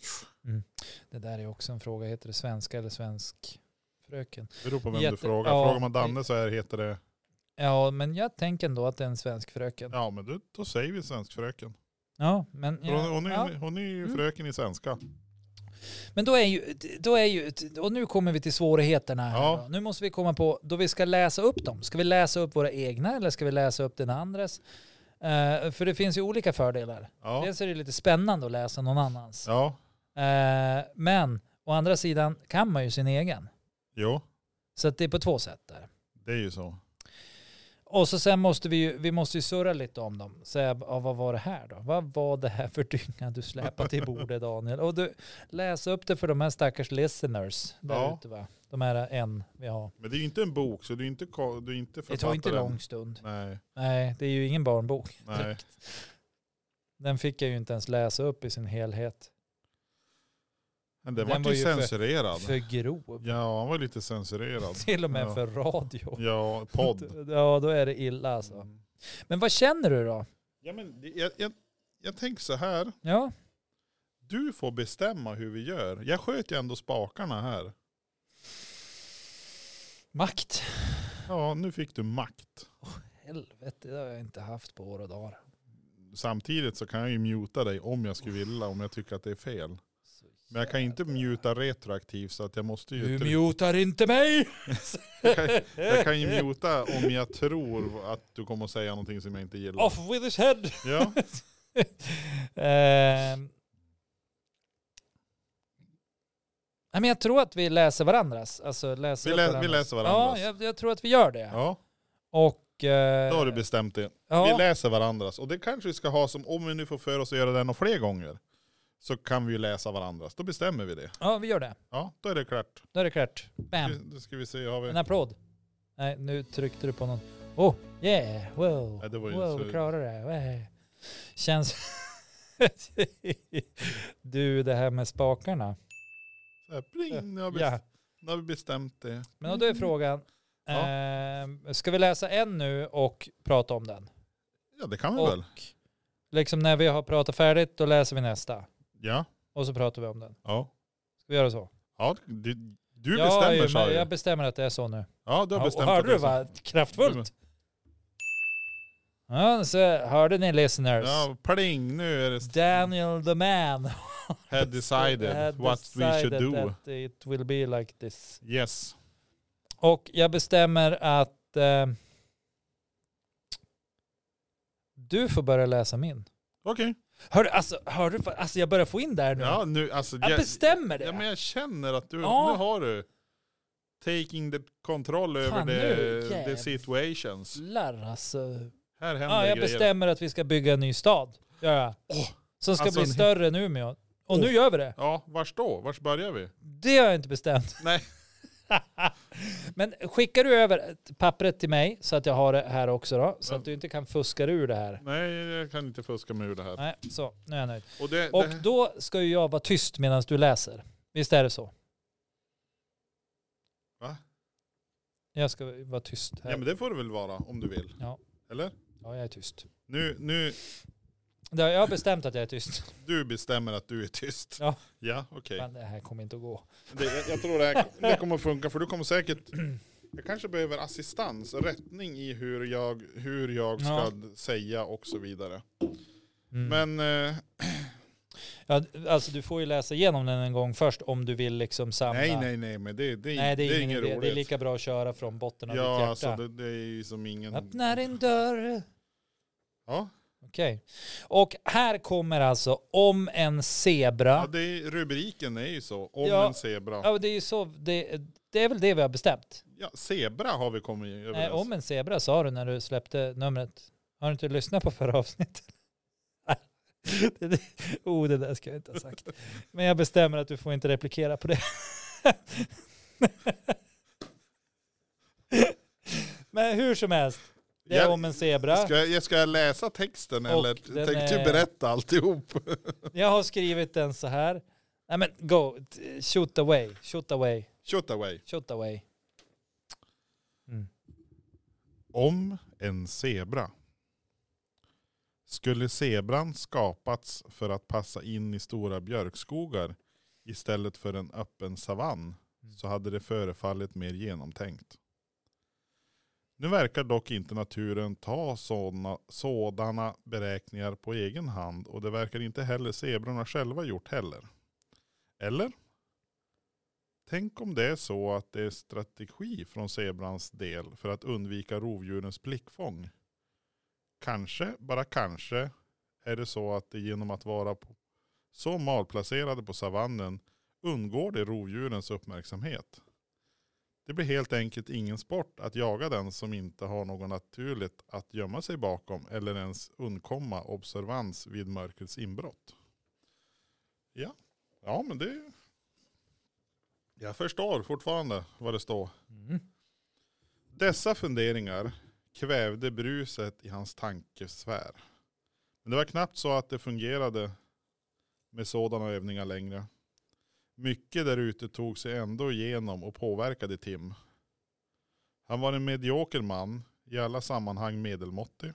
Speaker 2: Mm. Det där är också en fråga. Heter det svenska eller svensk fröken?
Speaker 1: Det beror på vem du
Speaker 2: Jätte-
Speaker 1: frågar.
Speaker 2: ja.
Speaker 1: Frågar man Danne så här heter det.
Speaker 2: Ja, men jag tänker ändå att det är en svensk fröken. Ja,
Speaker 1: Ja men då, då säger vi svensk fröken.
Speaker 2: men...
Speaker 1: För Hon,
Speaker 2: Ja,
Speaker 1: hon, är,
Speaker 2: ja.
Speaker 1: ju- hon är ju
Speaker 2: Mm.
Speaker 1: fröken i svenska.
Speaker 2: Men då är ju, då är ju, och nu kommer vi till svårigheterna. Här
Speaker 1: Ja.
Speaker 2: då. Nu måste vi komma på, då vi ska läsa upp dem, ska vi läsa upp våra egna eller ska vi läsa upp den andres? Eh, för det finns ju olika fördelar.
Speaker 1: Ja.
Speaker 2: Dels är det lite spännande att läsa någon annans.
Speaker 1: Ja,
Speaker 2: Eh, men Å andra sidan kan man ju sin egen.
Speaker 1: Jo,
Speaker 2: Så att det är på två sätt där.
Speaker 1: det är ju så.
Speaker 2: Och så sen måste vi ju, vi måste ju surra lite om dem. Säga, ja, vad var det här då? Vad var det här för dynga du släpade till bordet Daniel? Och du, läs upp det för de här stackars listeners där
Speaker 1: Ja.
Speaker 2: ute va? De här en vi har.
Speaker 1: Men det är ju inte en bok så du är inte, ko- du är inte
Speaker 2: Det
Speaker 1: författaren.
Speaker 2: tar inte lång stund.
Speaker 1: Nej,
Speaker 2: Nej, det är ju ingen barnbok.
Speaker 1: nej.
Speaker 2: Den fick jag ju inte ens läsa upp i sin helhet.
Speaker 1: Men den,
Speaker 2: Den
Speaker 1: var ju
Speaker 2: var ju för-
Speaker 1: censurerad.
Speaker 2: För grov.
Speaker 1: Ja, han var lite censurerad.
Speaker 2: Till och med
Speaker 1: Ja.
Speaker 2: för radio.
Speaker 1: Ja, podd. Mm.
Speaker 2: Ja, då är det illa alltså. Men vad känner du då?
Speaker 1: Ja, men det- jag, jag, jag tänker så här.
Speaker 2: Ja,
Speaker 1: Du får bestämma hur vi gör. Jag sköt ju ändå spakarna här.
Speaker 2: makt.
Speaker 1: Ja, nu fick du makt.
Speaker 2: Helvete, det har jag inte haft på år och dagar.
Speaker 1: Samtidigt så kan jag ju muta dig om jag skulle vilja, om jag tycker att det är fel.
Speaker 2: Så
Speaker 1: Men jag kan inte
Speaker 2: jävla-
Speaker 1: muta retroaktivt så att jag måste ju...
Speaker 2: Du mutar inte mig!
Speaker 1: jag, kan, jag kan ju muta om jag tror att du kommer att säga någonting som jag inte gillar.
Speaker 2: Off with his head!
Speaker 1: Ja,
Speaker 2: Ehm. Nej, men jag tror att vi läser varandras. Alltså, läser
Speaker 1: Vi
Speaker 2: upp
Speaker 1: lä- vi
Speaker 2: varandras.
Speaker 1: läser varandras.
Speaker 2: Ja, jag, jag tror att vi gör det.
Speaker 1: ja,
Speaker 2: Och... eh,
Speaker 1: då har du bestämt det. Vi
Speaker 2: ja,
Speaker 1: läser varandras. Och det kanske vi ska ha som, om vi nu får för oss att göra det några fler gånger, så kan vi ju läsa varandras. Då bestämmer vi det.
Speaker 2: ja, vi gör det.
Speaker 1: Ja, då är det klart.
Speaker 2: Då är det klart. Bam!
Speaker 1: Nu ska vi se, har vi...
Speaker 2: En applåd. Nej, nu tryckte du på någon. Oh, yeah, wow,
Speaker 1: Nej, det var ju
Speaker 2: wow,
Speaker 1: så-
Speaker 2: du klarar det. Wow. Känns... du, det här med spakarna.
Speaker 1: Så här, pling, nu har, vi,
Speaker 2: Ja.
Speaker 1: nu har vi bestämt det.
Speaker 2: Men och då är frågan,
Speaker 1: Ja.
Speaker 2: eh, ska vi läsa en nu och prata om den?
Speaker 1: Ja, det kan vi väl.
Speaker 2: Och liksom när vi har pratat färdigt, då läser vi nästa.
Speaker 1: Ja,
Speaker 2: Och så pratar vi om den.
Speaker 1: ja.
Speaker 2: Ska vi göra så?
Speaker 1: ja du, du
Speaker 2: Ja,
Speaker 1: bestämmer,
Speaker 2: jag,
Speaker 1: sa
Speaker 2: jag
Speaker 1: jag.
Speaker 2: bestämmer att det är så nu.
Speaker 1: Ja, du har
Speaker 2: Ja, och
Speaker 1: bestämt.
Speaker 2: hörde
Speaker 1: att
Speaker 2: du
Speaker 1: det är så. Mm.
Speaker 2: vad kraftfullt? Ja, så hörde ni listeners?
Speaker 1: Ja, pling, nu är det
Speaker 2: Daniel the man
Speaker 1: had decided
Speaker 2: had
Speaker 1: what we should
Speaker 2: decided
Speaker 1: do.
Speaker 2: that it will be like this.
Speaker 1: Yes.
Speaker 2: Och jag bestämmer att eh, du får börja läsa min.
Speaker 1: Okej.
Speaker 2: Hör, du, alltså, hör du, alltså jag börjar få in det här nu.
Speaker 1: Ja, nu alltså.
Speaker 2: jag bestämmer det.
Speaker 1: Ja, men jag känner att du,
Speaker 2: Ja.
Speaker 1: nu har du taking the control över
Speaker 2: Fan,
Speaker 1: the,
Speaker 2: nu, jävlar.
Speaker 1: the situations.
Speaker 2: Jävlar alltså.
Speaker 1: Här händer
Speaker 2: Ja, jag
Speaker 1: grejer.
Speaker 2: bestämmer att vi ska bygga en ny stad. Gör jag.
Speaker 1: Åh,
Speaker 2: Som ska
Speaker 1: alltså
Speaker 2: bli
Speaker 1: en-
Speaker 2: större än Umeå. Och
Speaker 1: Åh.
Speaker 2: nu gör vi det.
Speaker 1: Ja, vars då? Vars börjar vi?
Speaker 2: Det har jag inte bestämt.
Speaker 1: Nej.
Speaker 2: Men skickar du över pappret till mig så att jag har det här också då. Så
Speaker 1: Ja.
Speaker 2: att du inte kan fuska dig ur det här.
Speaker 1: Nej, jag kan inte fuska mig ur det här.
Speaker 2: Nej, så. Nu är jag nöjd.
Speaker 1: Och det,
Speaker 2: Och
Speaker 1: det,
Speaker 2: då ska ju jag vara tyst medan du läser. Visst är det så?
Speaker 1: Va?
Speaker 2: Jag ska vara tyst här.
Speaker 1: ja, men det får du väl vara om du vill.
Speaker 2: Ja.
Speaker 1: Eller?
Speaker 2: Ja, jag är tyst.
Speaker 1: Nu, nu,
Speaker 2: Det har- Jag har bestämt att jag är tyst.
Speaker 1: du bestämmer att du är tyst.
Speaker 2: Ja.
Speaker 1: Ja, okej.
Speaker 2: Men det här kommer inte att gå.
Speaker 1: Det, jag, jag tror det, här, det kommer att funka för du kommer säkert, jag kanske behöver assistans, rättning i hur jag, hur jag ska
Speaker 2: Ja.
Speaker 1: säga och så vidare.
Speaker 2: Mm.
Speaker 1: Men eh,
Speaker 2: Ja, alltså du får ju läsa igenom den en gång först om du vill liksom samla.
Speaker 1: nej, nej, nej, men det, det, är-
Speaker 2: Nej, det är, ingen
Speaker 1: inget
Speaker 2: idé.
Speaker 1: roligt.
Speaker 2: Det är lika bra att köra från botten av ditt
Speaker 1: ja,
Speaker 2: hjärta.
Speaker 1: alltså det, det är ju som ingen...
Speaker 2: Öppna din dörr.
Speaker 1: Ja,
Speaker 2: Okej. Och här kommer alltså om en
Speaker 1: ja
Speaker 2: zebra.
Speaker 1: det är, rubriken är ju så, om
Speaker 2: Ja.
Speaker 1: en zebra.
Speaker 2: Ja, det är ju så. Det, det är väl det vi har bestämt.
Speaker 1: Ja, zebra har vi kommit överens.
Speaker 2: Nej, om en zebra sa du när du släppte numret. Har du inte lyssnat på förra avsnittet? Det- det- oh, det där ska jag inte ha sagt. Men jag bestämmer att du får inte replikera på det. Men hur som helst, det är
Speaker 1: Jag-
Speaker 2: om en zebra.
Speaker 1: Ska jag, jag- ska jag läsa texten
Speaker 2: Och
Speaker 1: eller
Speaker 2: den
Speaker 1: tänkte du
Speaker 2: är-
Speaker 1: berätta alltihop?
Speaker 2: Jag har skrivit den så här. Nej men go, T- shoot away, shoot away,
Speaker 1: Shut away.
Speaker 2: shoot away. Mm.
Speaker 1: Om en zebra. Skulle zebran skapats för att passa in i stora björkskogar istället för en öppen savann så hade det förefallit mer genomtänkt. Nu verkar dock inte naturen ta sådana, sådana beräkningar på egen hand och det verkar inte heller zebrorna själva gjort heller. Eller? Tänk om det är så att det är strategi från zebrans del för att undvika rovdjurens blickfång. Kanske, bara kanske, är det så att det genom att vara på, så malplacerade på savannen undgår det rovdjurens uppmärksamhet. Det blir helt enkelt ingen sport att jaga den som inte har något naturligt att gömma sig bakom eller ens undkomma observans vid mörkrets inbrott. Ja, ja men det... Jag förstår fortfarande vad det står.
Speaker 2: Mm.
Speaker 1: Dessa funderingar kvävde bruset i hans tankesfär. Men det var knappt så att det fungerade med sådana övningar längre. Mycket där ute tog sig ändå igenom och påverkade Tim. Han var en medioker man, i alla sammanhang medelmåttig.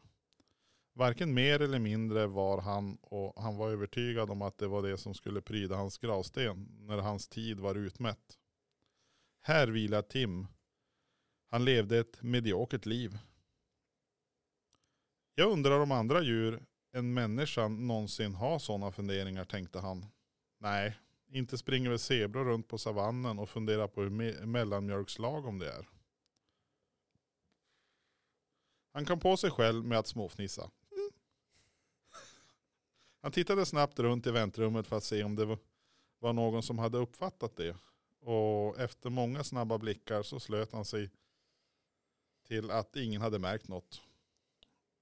Speaker 1: Varken mer eller mindre var han och han var övertygad om att det var det som skulle pryda hans gravsten när hans tid var utmätt. Här vilar Tim han levde ett mediokert liv. Jag undrar om andra djur än människan någonsin har sådana funderingar tänkte han. Nej, inte springer väl zebror runt på savannen och funderar på hur me- mellanmjölkslagom det är. Han kom på sig själv med att småfnissa. Mm. Han tittade snabbt runt i väntrummet för att se om det var- var någon som hade uppfattat det. Och efter många snabba blickar så slöt han sig till att ingen hade märkt något.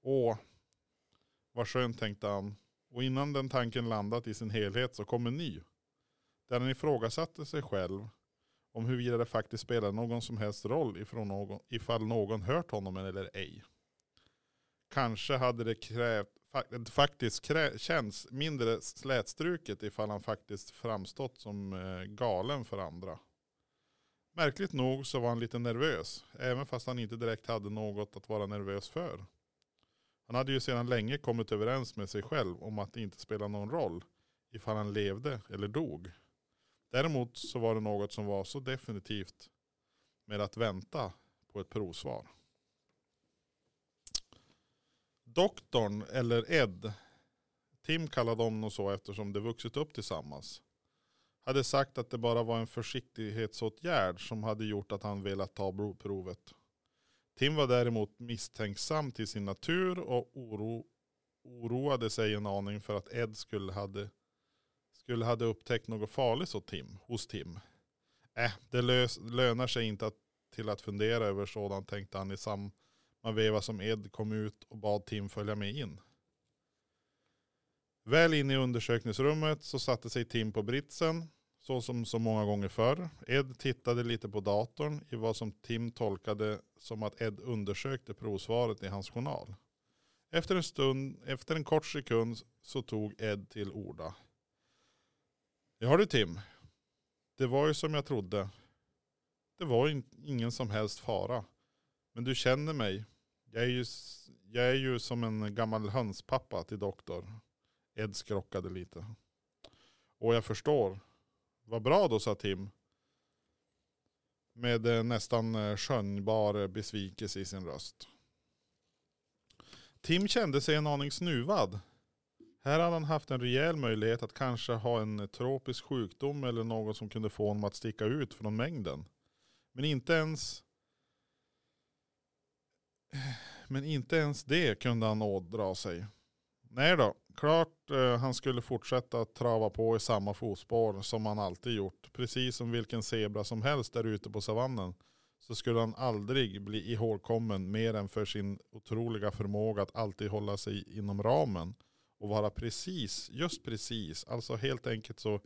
Speaker 1: Åh, vad skönt tänkte han. Och innan den tanken landat i sin helhet så kom en ny. Där han ifrågasatte sig själv om huruvida det faktiskt spelade någon som helst roll ifrån någon, ifall någon hört honom eller ej. Kanske hade det krävt, fa- faktiskt krä, känts mindre slätstruket ifall han faktiskt framstått som eh, galen för andra. Märkligt nog så var han lite nervös, även fast han inte direkt hade något att vara nervös för. Han hade ju sedan länge kommit överens med sig själv om att det inte spelar någon roll ifall han levde eller dog. Däremot så var det något som var så definitivt med att vänta på ett provsvar. Doktorn, eller Ed, Tim kallade honom så eftersom de vuxit upp tillsammans hade sagt att det bara var en försiktighetsåtgärd som hade gjort att han velat ta blodprovet. Tim var däremot misstänksam till sin natur och oro, oroade sig en aning för att Ed skulle hade, skulle hade upptäckt något farligt hos Tim. Hos Tim. Äh, det lös, lönar sig inte att, till att fundera över sådant tänkte han i samma veva som Ed kom ut och bad Tim följa med in. Väl inne i undersökningsrummet så satte sig Tim på britsen, så som så många gånger förr. Ed tittade lite på datorn i vad som Tim tolkade som att Ed undersökte provsvaret i hans journal. Efter en, stund, efter en kort sekund så tog Ed till orda. Ja du Tim, det var ju som jag trodde. Det var ju in- ingen som helst fara. Men du känner mig. Jag är ju, s- jag är ju som en gammal hönspappa till doktor. Ed skrockade lite. Och jag förstår. Vad bra då, sa Tim. Med eh, nästan eh, skönjbar eh, besvikelse i sin röst. Tim kände sig en aning snuvad. Här hade han haft en rejäl möjlighet att kanske ha en eh, tropisk sjukdom eller något som kunde få honom att sticka ut från mängden. Men inte ens men inte ens det kunde han ådra sig. Nej då, klart eh, han skulle fortsätta att trava på i samma fotspår som han alltid gjort. Precis som vilken zebra som helst där ute på savannen så skulle han aldrig bli ihågkommen mer än för sin otroliga förmåga att alltid hålla sig inom ramen och vara precis, just precis, alltså helt enkelt så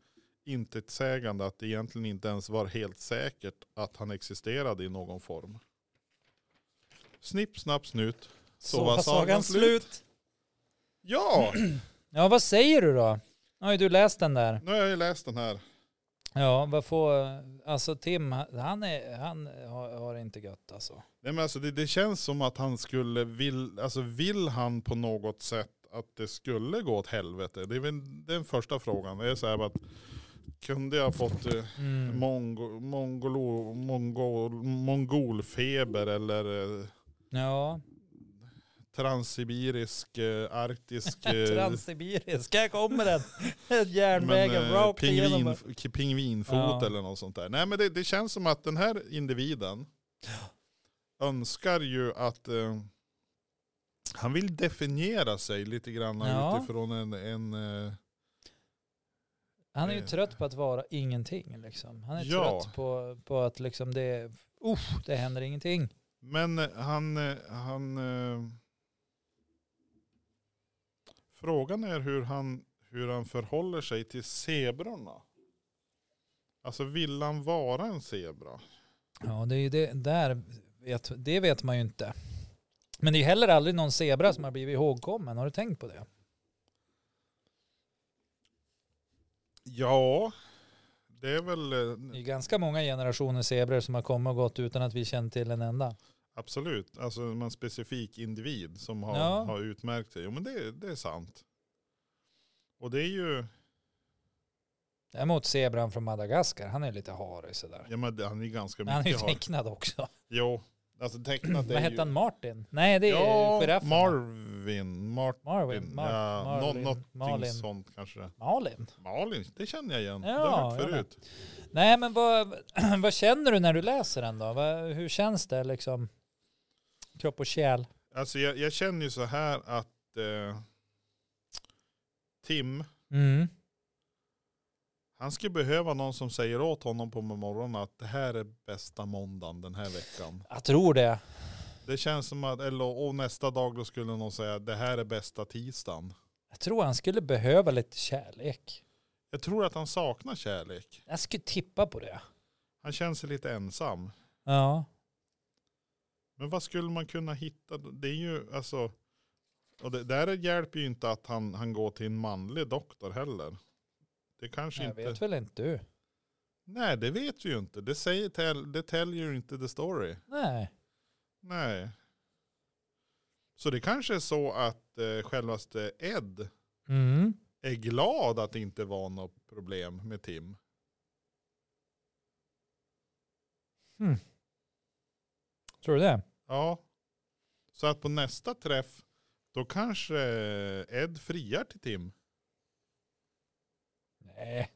Speaker 1: intetsägande att det egentligen inte ens var helt säkert att han existerade i någon form. Snipp, snapp, snut.
Speaker 2: Så, var sagan slut.
Speaker 1: Ja!
Speaker 2: Ja, vad säger du då? Nu har ju du läst den där.
Speaker 1: Nu har jag ju läst den här.
Speaker 2: Ja, vad får, alltså Tim, han, är, han har, har inte gött alltså.
Speaker 1: Nej, men alltså det, det känns som att han skulle, vill, alltså vill han på något sätt att det skulle gå åt helvete? Det är väl den första frågan. Det är så här bara att kunde jag fått eh,
Speaker 2: Mm.
Speaker 1: mongo, mongolo, mongo, mongolfeber eller eh,
Speaker 2: Ja,
Speaker 1: transsibirisk, eh, arktisk eh,
Speaker 2: transsibirisk, här kommer den. Järnvägen
Speaker 1: men, eh,
Speaker 2: rakt igenom.
Speaker 1: pingvin, k- pingvinfot
Speaker 2: Ja.
Speaker 1: eller något sånt där. Nej men det, det känns som att den här individen önskar ju att eh, han vill definiera sig lite grann
Speaker 2: Ja.
Speaker 1: utifrån en, en eh,
Speaker 2: Han är ju
Speaker 1: Det-
Speaker 2: trött på att vara ingenting. Liksom. Han är
Speaker 1: Ja.
Speaker 2: trött på, på att liksom det, usch, det händer ingenting.
Speaker 1: Men eh, han, eh, han... eh, Frågan är hur han, hur han förhåller sig till zebrorna. Alltså vill han vara en zebra?
Speaker 2: Ja, det är ju det, där vet, det vet man ju inte. Men det är ju heller aldrig någon zebra som har blivit ihågkommen. Har du tänkt på det?
Speaker 1: Ja, det är väl
Speaker 2: Det
Speaker 1: eh,
Speaker 2: är ju ganska många generationer zebror som har kommit och gått utan att vi känt till en enda.
Speaker 1: absolut, alltså en specifik individ som har,
Speaker 2: Ja.
Speaker 1: har utmärkt sig. Jo men det, det är sant. Och det är ju,
Speaker 2: Däremot zebran från Madagaskar, han är lite harig sådär.
Speaker 1: ja men det- han är ganska
Speaker 2: Men han är ju
Speaker 1: mycket har.
Speaker 2: tecknad också.
Speaker 1: Jo, alltså tecknat är
Speaker 2: Vad hette
Speaker 1: ju-
Speaker 2: han, Martin? Nej, det är
Speaker 1: ja,
Speaker 2: giraffen.
Speaker 1: Marvin. Martin.
Speaker 2: Marvin. Mar-
Speaker 1: ja, nå-
Speaker 2: Marlin.
Speaker 1: någonting
Speaker 2: Malin.
Speaker 1: sånt kanske.
Speaker 2: Malin.
Speaker 1: Malin, det känner jag igen.
Speaker 2: Ja,
Speaker 1: det har jag hört
Speaker 2: jag
Speaker 1: förut.
Speaker 2: Nej, men vad, vad känner du när du läser den då? Vad, hur känns det liksom? Kropp och själ?
Speaker 1: Alltså jag, jag känner ju så här att eh, Tim,
Speaker 2: Mm.
Speaker 1: han skulle behöva någon som säger åt honom på morgonen att det här är bästa måndagen den här veckan.
Speaker 2: Jag tror det.
Speaker 1: Det känns som att, eller och nästa dag då skulle någon säga det här är bästa tisdagen.
Speaker 2: Jag tror han skulle behöva lite kärlek.
Speaker 1: Jag tror att han saknar kärlek.
Speaker 2: Jag skulle tippa på det.
Speaker 1: Han känner sig lite ensam.
Speaker 2: Ja.
Speaker 1: Men vad skulle man kunna hitta? Det är ju alltså. Och det där hjälper ju inte att han, han går till en manlig doktor heller. Det kanske
Speaker 2: Jag
Speaker 1: inte.
Speaker 2: vet väl inte du.
Speaker 1: Nej, det vet vi ju inte. Det säger tell, det täljer ju inte the story.
Speaker 2: Nej.
Speaker 1: Nej. Så det kanske är så att eh, självaste Ed
Speaker 2: Mm.
Speaker 1: är glad att det inte var något problem med Tim.
Speaker 2: Tror du det?
Speaker 1: Ja. Så att på nästa träff då kanske Ed friar till Tim.
Speaker 2: Nej.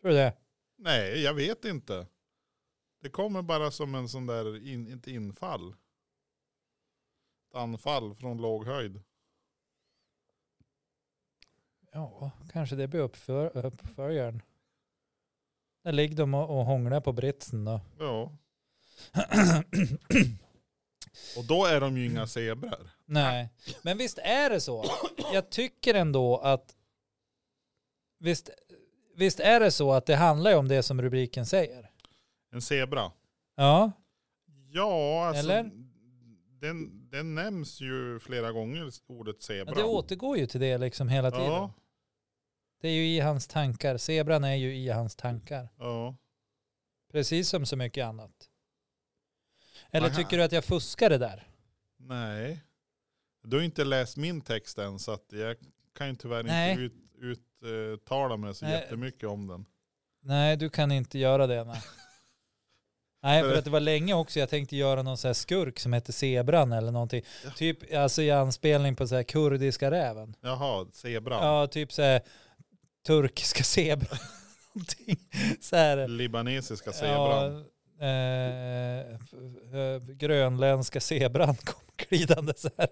Speaker 2: Tror du det?
Speaker 1: Nej, jag vet inte. Det kommer bara som en sån där, in, ett infall. Ett anfall från låg höjd.
Speaker 2: Ja, kanske det blir uppför, uppföljaren. Där ligger de och, och hånglar på britsen då.
Speaker 1: Ja. Och då är de ju inga zebror.
Speaker 2: Nej, men visst är det så. Jag tycker ändå att visst, visst är det så att det handlar ju om det som rubriken säger.
Speaker 1: En zebra.
Speaker 2: Ja,
Speaker 1: Ja, alltså.
Speaker 2: Eller?
Speaker 1: Den, den nämns ju flera gånger, ordet
Speaker 2: men
Speaker 1: zebra.
Speaker 2: det återgår ju till det liksom hela tiden.
Speaker 1: ja,
Speaker 2: Det är ju i hans tankar. Zebran är ju i hans tankar.
Speaker 1: ja.
Speaker 2: Precis som så mycket annat. Eller
Speaker 1: Aha.
Speaker 2: tycker du att jag fuskade där?
Speaker 1: Nej. Du har ju inte läst min text än så att jag kan ju tyvärr
Speaker 2: Nej.
Speaker 1: inte ut, uttala mig så
Speaker 2: Nej.
Speaker 1: jättemycket om den.
Speaker 2: Nej, du kan inte göra det. Nej, nej för
Speaker 1: Eller-
Speaker 2: att det var länge också jag tänkte göra någon så här skurk som hette Zebran eller någonting.
Speaker 1: Ja.
Speaker 2: Typ alltså i anspelning på så här kurdiska räven.
Speaker 1: Jaha, zebran.
Speaker 2: Ja, typ så här turkiska zebran. Någonting så här.
Speaker 1: Libanesiska zebran.
Speaker 2: Ja, eh, f- eh, grönländska zebran kom glidande så här.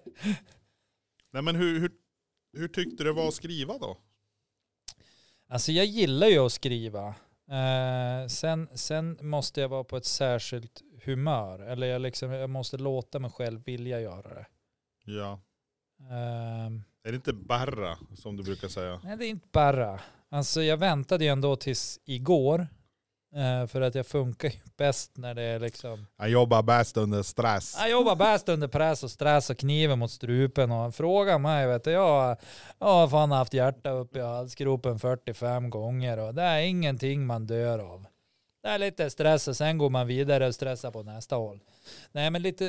Speaker 1: Nej men hur, hur, hur tyckte du det var att skriva då?
Speaker 2: Alltså jag gillar ju att skriva. Eh, sen, sen måste jag vara på ett särskilt humör. Eller jag, liksom, jag måste låta mig själv vilja göra det.
Speaker 1: Ja.
Speaker 2: Eh,
Speaker 1: Är det inte barra som du brukar säga?
Speaker 2: Nej, det är inte bara. Alltså jag väntade ju ändå tills igår. eh, för att jag funkar ju bäst när det är liksom
Speaker 1: Jag jobbar bäst under stress.
Speaker 2: Jag jobbar bäst under press och stress och kniven mot strupen och han frågar mig, vet du, jag, jag har fan haft hjärta uppe i halsgropen 45 gånger och det är ingenting man dör av. Det är lite stress och sen går man vidare och stressar på nästa håll. Nej men lite,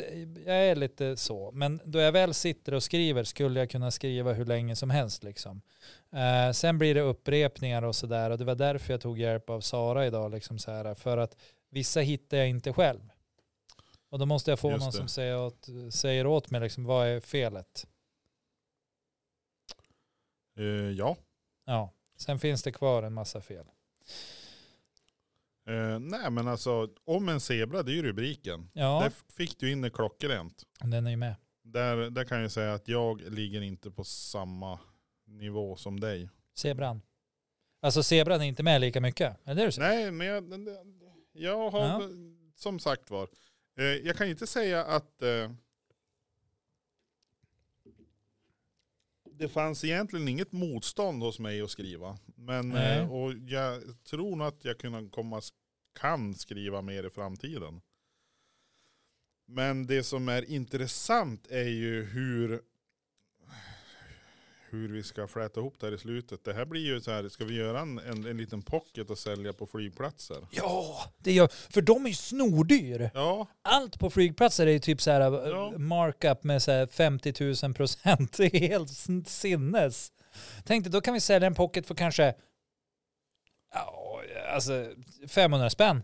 Speaker 2: jag är lite så. Men då jag väl sitter och skriver skulle jag kunna skriva hur länge som helst liksom. Eh, sen blir det upprepningar och sådär och det var därför jag tog hjälp av Sara idag liksom så här för att vissa hittar jag inte själv. Och då måste jag få
Speaker 1: Just
Speaker 2: någon
Speaker 1: det.
Speaker 2: som säger åt, säger åt mig liksom vad är felet.
Speaker 1: Eh, ja.
Speaker 2: Ja, sen finns det kvar en massa fel.
Speaker 1: Eh, nej men alltså om en zebra det är ju rubriken.
Speaker 2: Ja,
Speaker 1: Där f- fick du in det klockrent.
Speaker 2: den är ju med.
Speaker 1: Där, där kan jag säga att jag ligger inte på samma nivå som dig.
Speaker 2: Zebran. Alltså zebran är inte med lika mycket. Är det det du säger?
Speaker 1: Nej, men jag, den- den- jag har,
Speaker 2: Ja.
Speaker 1: som sagt var, eh, jag kan inte säga att eh, det fanns egentligen inget motstånd hos mig att skriva. Men,
Speaker 2: Nej.
Speaker 1: eh, och jag tror nog att jag kunna komma, kan skriva mer i framtiden. Men det som är intressant är ju hur hur vi ska fläta ihop det här i slutet. Det här blir ju så här, ska vi göra en, en, en liten pocket och sälja på flygplatser?
Speaker 2: Ja, det gör För de är ju snordyr.
Speaker 1: Ja,
Speaker 2: Allt på flygplatser är ju typ så här eh,
Speaker 1: Ja.
Speaker 2: markup med så här 50 000 procent. Det är helt sin- sinnes. Tänkte då kan vi sälja en pocket för kanske ja, alltså 500 spänn.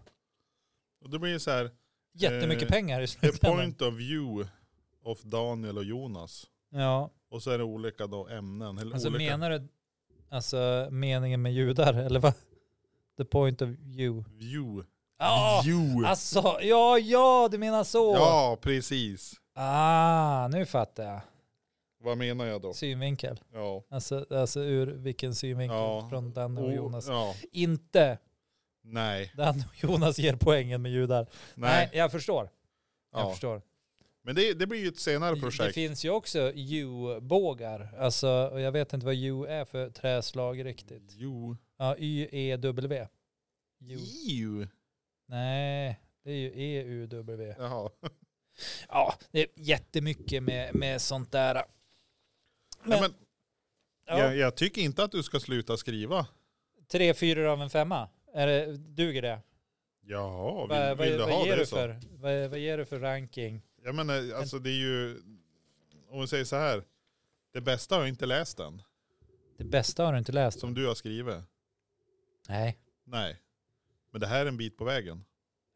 Speaker 1: och det blir ju så här,
Speaker 2: Jättemycket
Speaker 1: Eh,
Speaker 2: pengar i
Speaker 1: the
Speaker 2: slutändan.
Speaker 1: point of view of Daniel och Jonas.
Speaker 2: Ja,
Speaker 1: Och så är det olika då ämnen. Eller
Speaker 2: alltså
Speaker 1: olika.
Speaker 2: menar du alltså meningen med judar eller vad? The point of view.
Speaker 1: View.
Speaker 2: Ja,
Speaker 1: view.
Speaker 2: Ah, alltså ja, ja, du menar så.
Speaker 1: Ja, precis.
Speaker 2: Ah, nu fattar jag.
Speaker 1: Vad menar jag då?
Speaker 2: Synvinkel.
Speaker 1: Ja.
Speaker 2: Alltså, alltså ur vilken synvinkel
Speaker 1: Ja.
Speaker 2: från Danne och
Speaker 1: O-
Speaker 2: Jonas.
Speaker 1: Ja.
Speaker 2: Inte
Speaker 1: Nej.
Speaker 2: Danne och Jonas ger poängen med judar. Nej,
Speaker 1: Nej.
Speaker 2: jag förstår. Jag
Speaker 1: Ja.
Speaker 2: förstår.
Speaker 1: Men det, det blir ju ett senare
Speaker 2: Det
Speaker 1: projekt.
Speaker 2: finns ju också U-bågar. Alltså, och jag vet inte vad U är för träslag riktigt.
Speaker 1: View.
Speaker 2: Ja, E Y-E-W. U.
Speaker 1: View.
Speaker 2: Nej, det är ju E-U-W.
Speaker 1: Jaha.
Speaker 2: Ja, det är jättemycket med, med sånt där.
Speaker 1: Nej, men,
Speaker 2: ja,
Speaker 1: jag, jag tycker inte att du ska sluta skriva.
Speaker 2: Tre fyror av en femma. Är det, duger det?
Speaker 1: Ja, vill,
Speaker 2: Vad-
Speaker 1: vill
Speaker 2: vad-
Speaker 1: du
Speaker 2: vad
Speaker 1: ha
Speaker 2: ger
Speaker 1: det
Speaker 2: du
Speaker 1: så?
Speaker 2: för- Vad vad ger du för ranking?
Speaker 1: Jag menar, alltså det är ju, om vi säger så här, det bästa har jag inte läst den,
Speaker 2: Det bästa har du inte läst.
Speaker 1: som du har skrivit.
Speaker 2: Nej.
Speaker 1: Nej. Men det här är en bit på vägen.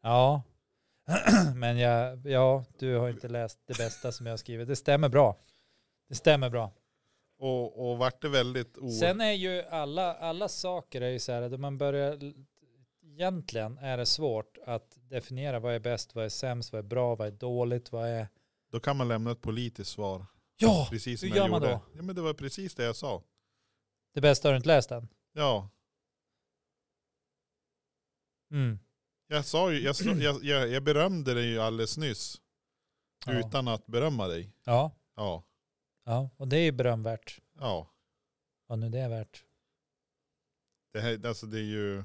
Speaker 2: Ja. Men jag, ja, du har inte läst det bästa som jag har skrivit. Det stämmer bra. Det stämmer bra.
Speaker 1: Och, och vart det väldigt o...
Speaker 2: Sen är ju alla, alla saker är ju så här att man börjar, egentligen är det svårt att definiera vad är bäst, vad är sämst, vad är bra, vad är dåligt, vad är...
Speaker 1: Då kan man lämna ett politiskt svar.
Speaker 2: Ja,
Speaker 1: Precis som
Speaker 2: hur
Speaker 1: jag
Speaker 2: gör man
Speaker 1: gjorde.
Speaker 2: då?
Speaker 1: Ja, men det var precis det jag sa.
Speaker 2: det bästa har du inte läst än.
Speaker 1: Ja,
Speaker 2: Mm.
Speaker 1: jag sa ju, jag, sa- jag, jag, jag berömde dig ju alldeles nyss.
Speaker 2: Ja.
Speaker 1: Utan att berömma dig.
Speaker 2: Ja,
Speaker 1: Ja,
Speaker 2: ja, och det är ju berömvärt.
Speaker 1: ja.
Speaker 2: Vad nu det är värt.
Speaker 1: Det, här, alltså det är ju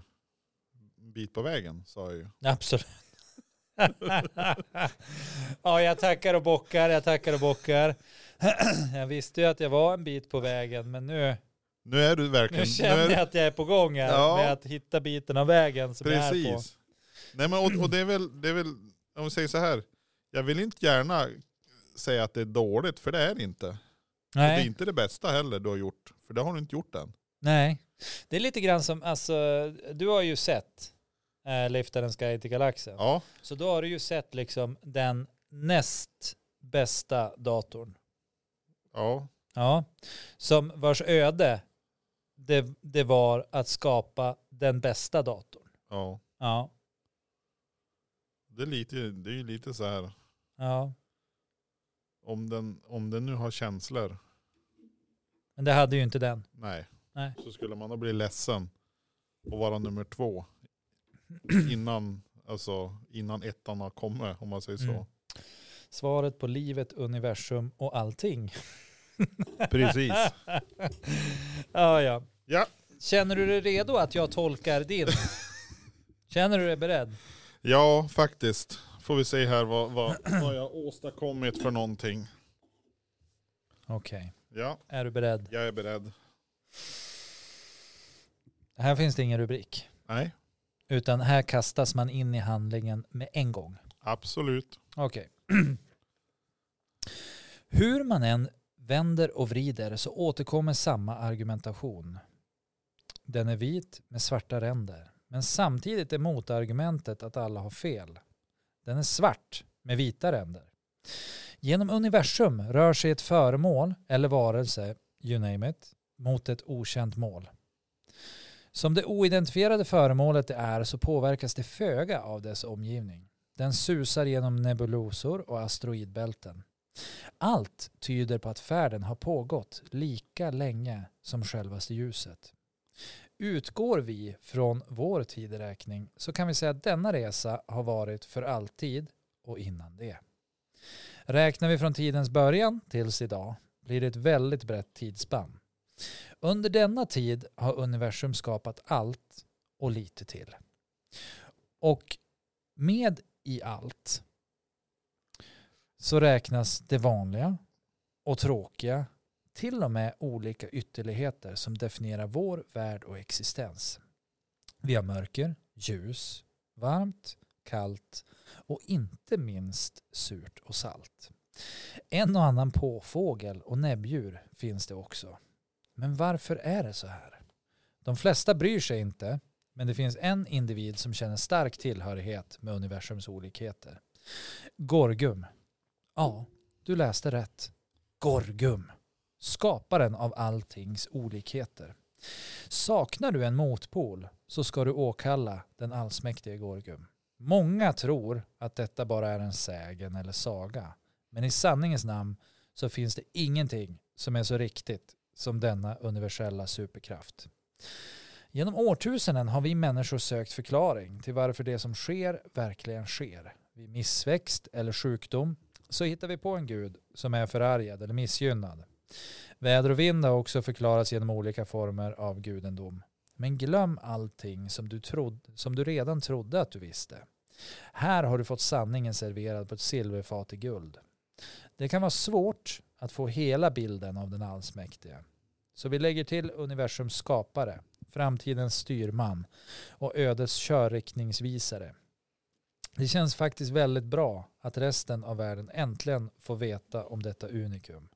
Speaker 1: en bit på vägen, sa jag ju.
Speaker 2: Absolut. ja, jag tackar och bockar, jag tackar och bockar. jag visste ju att jag var en bit på vägen, men nu,
Speaker 1: Nu är du verkligen...
Speaker 2: nu
Speaker 1: nu är
Speaker 2: känner
Speaker 1: du-
Speaker 2: jag att jag är på gång här
Speaker 1: Ja.
Speaker 2: med att hitta biten av vägen som jag är på.
Speaker 1: Precis. Nej, men, och, och det, är väl, det är väl, om vi säger så här, jag vill inte gärna säga att det är dåligt, för det är det inte. Och Det är
Speaker 2: Nej,
Speaker 1: inte det bästa heller du har gjort, för det har du inte gjort än.
Speaker 2: nej. Det är lite grann som, alltså, du har ju sett äh, Liftarens guide till galaxen.
Speaker 1: Ja,
Speaker 2: Så då har du ju sett liksom den näst bästa datorn.
Speaker 1: ja,
Speaker 2: Ja, som vars öde det, det var att skapa den bästa datorn.
Speaker 1: ja.
Speaker 2: Ja,
Speaker 1: Det är, lite, det är ju lite så här,
Speaker 2: ja.
Speaker 1: om den, om den nu har känslor,
Speaker 2: Men det hade ju inte den.
Speaker 1: nej.
Speaker 2: Nej.
Speaker 1: Så skulle man då bli ledsen och vara nummer två innan, alltså, innan ettan har kommit, om man säger så.
Speaker 2: Mm. Svaret på livet, universum och allting. Mm.
Speaker 1: Precis.
Speaker 2: ja, ja.
Speaker 1: Ja.
Speaker 2: Känner du dig redo att jag tolkar din? Känner du dig beredd?
Speaker 1: Ja, faktiskt. Får vi se här vad, vad, vad jag har åstadkommit för någonting.
Speaker 2: Okej,
Speaker 1: Ja,
Speaker 2: är du beredd?
Speaker 1: jag är beredd.
Speaker 2: Här finns det ingen rubrik,
Speaker 1: Nej,
Speaker 2: utan här kastas man in i handlingen med en gång.
Speaker 1: absolut.
Speaker 2: Okej. Hur man än vänder och vrider så återkommer samma argumentation. Den är vit med svarta ränder. Men samtidigt är motargumentet att alla har fel. Den är svart med vita ränder. Genom universum rör sig ett föremål eller varelse, you name it, mot ett okänt mål. Som det oidentifierade föremålet det är så påverkas det föga av dess omgivning. Den susar genom nebulosor och asteroidbälten. Allt tyder på att färden har pågått lika länge som självaste ljuset. Utgår vi från vår tideräkning så kan vi säga att denna resa har varit för alltid och innan det. Räknar vi från tidens början tills idag blir det ett väldigt brett tidsspann. Under denna tid har universum skapat allt och lite till. Och med i allt så räknas det vanliga och tråkiga till och med olika ytterligheter som definierar vår värld och existens. Vi har mörker, ljus, varmt, kallt och inte minst surt och salt. En och annan påfågel och näbbdjur finns det också. Men varför är det så här? De flesta bryr sig inte, men det finns en individ som känner stark tillhörighet med universums olikheter. Gorgum. Ja, du läste rätt. Gorgum skaparen av alltings olikheter. Saknar du en motpol så ska du åkalla den allsmäktige Gorgum. Många tror att detta bara är en sägen eller saga. Men i sanningens namn så finns det ingenting som är så riktigt som denna universella superkraft. Genom årtusenden har vi människor sökt förklaring till varför det som sker verkligen sker. Vid missväxt eller sjukdom så hittar vi på en gud som är förargad eller missgynnad. Väder och vind har också förklarats genom olika former av gudendom. Men glöm allting som du, trod, som du redan trodde att du visste. Här har du fått sanningen serverad på ett silverfat i guld. Det kan vara svårt att få hela bilden av den allsmäktige. Så vi lägger till universums skapare, framtidens styrman och ödets körriktningsvisare. Det känns faktiskt väldigt bra att resten av världen äntligen får veta om detta unikum.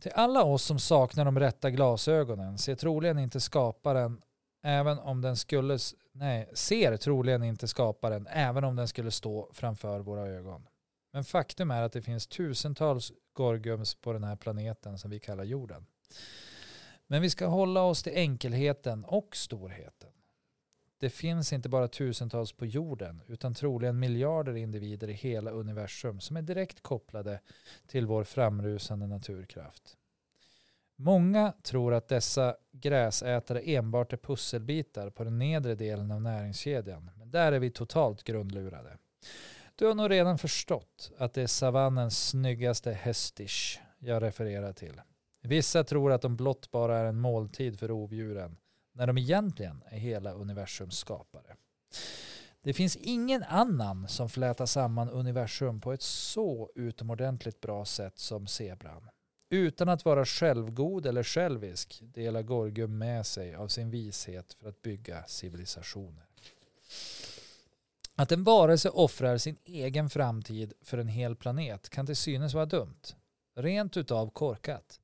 Speaker 2: Till alla oss som saknar de rätta glasögonen ser troligen inte skaparen även om den skulle nej, ser troligen inte skaparen även om den skulle stå framför våra ögon. Men faktum är att det finns tusentals gorgums på den här planeten som vi kallar jorden. Men vi ska hålla oss till enkelheten och storheten. Det finns inte bara tusentals på jorden utan troligen miljarder individer i hela universum som är direkt kopplade till vår framrusande naturkraft. Många tror att dessa gräsätare enbart är pusselbitar på den nedre delen av näringskedjan. Men där är vi totalt grundlurade. Du har nog redan förstått att det är savannens snyggaste hästish jag refererar till. Vissa tror att de blott bara är en måltid för rovdjuren när de egentligen är hela universums skapare. Det finns ingen annan som flätar samman universum på ett så utomordentligt bra sätt som zebran. Utan att vara självgod eller självisk delar Gorgum med sig av sin vishet för att bygga civilisationer. Att en varelse offrar sin egen framtid för en hel planet kan till synes vara dumt. Rent utav korkat.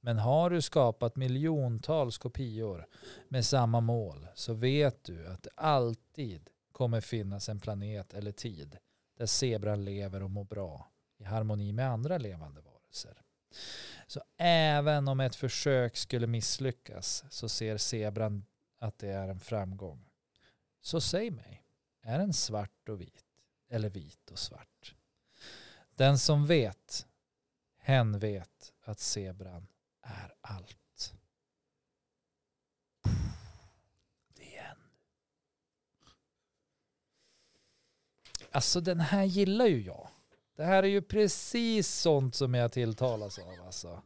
Speaker 2: Men har du skapat miljontals kopior med samma mål så vet du att det alltid kommer finnas en planet eller tid där zebran lever och mår bra i harmoni med andra levande varelser. Så även om ett försök skulle misslyckas så ser zebran att det är en framgång. Så säg mig, är den svart och vit eller vit och svart? Den som vet, hen vet att zebran är allt. Det är en. Alltså den här gillar ju jag. Det här är ju precis sånt som jag tilltalas av alltså.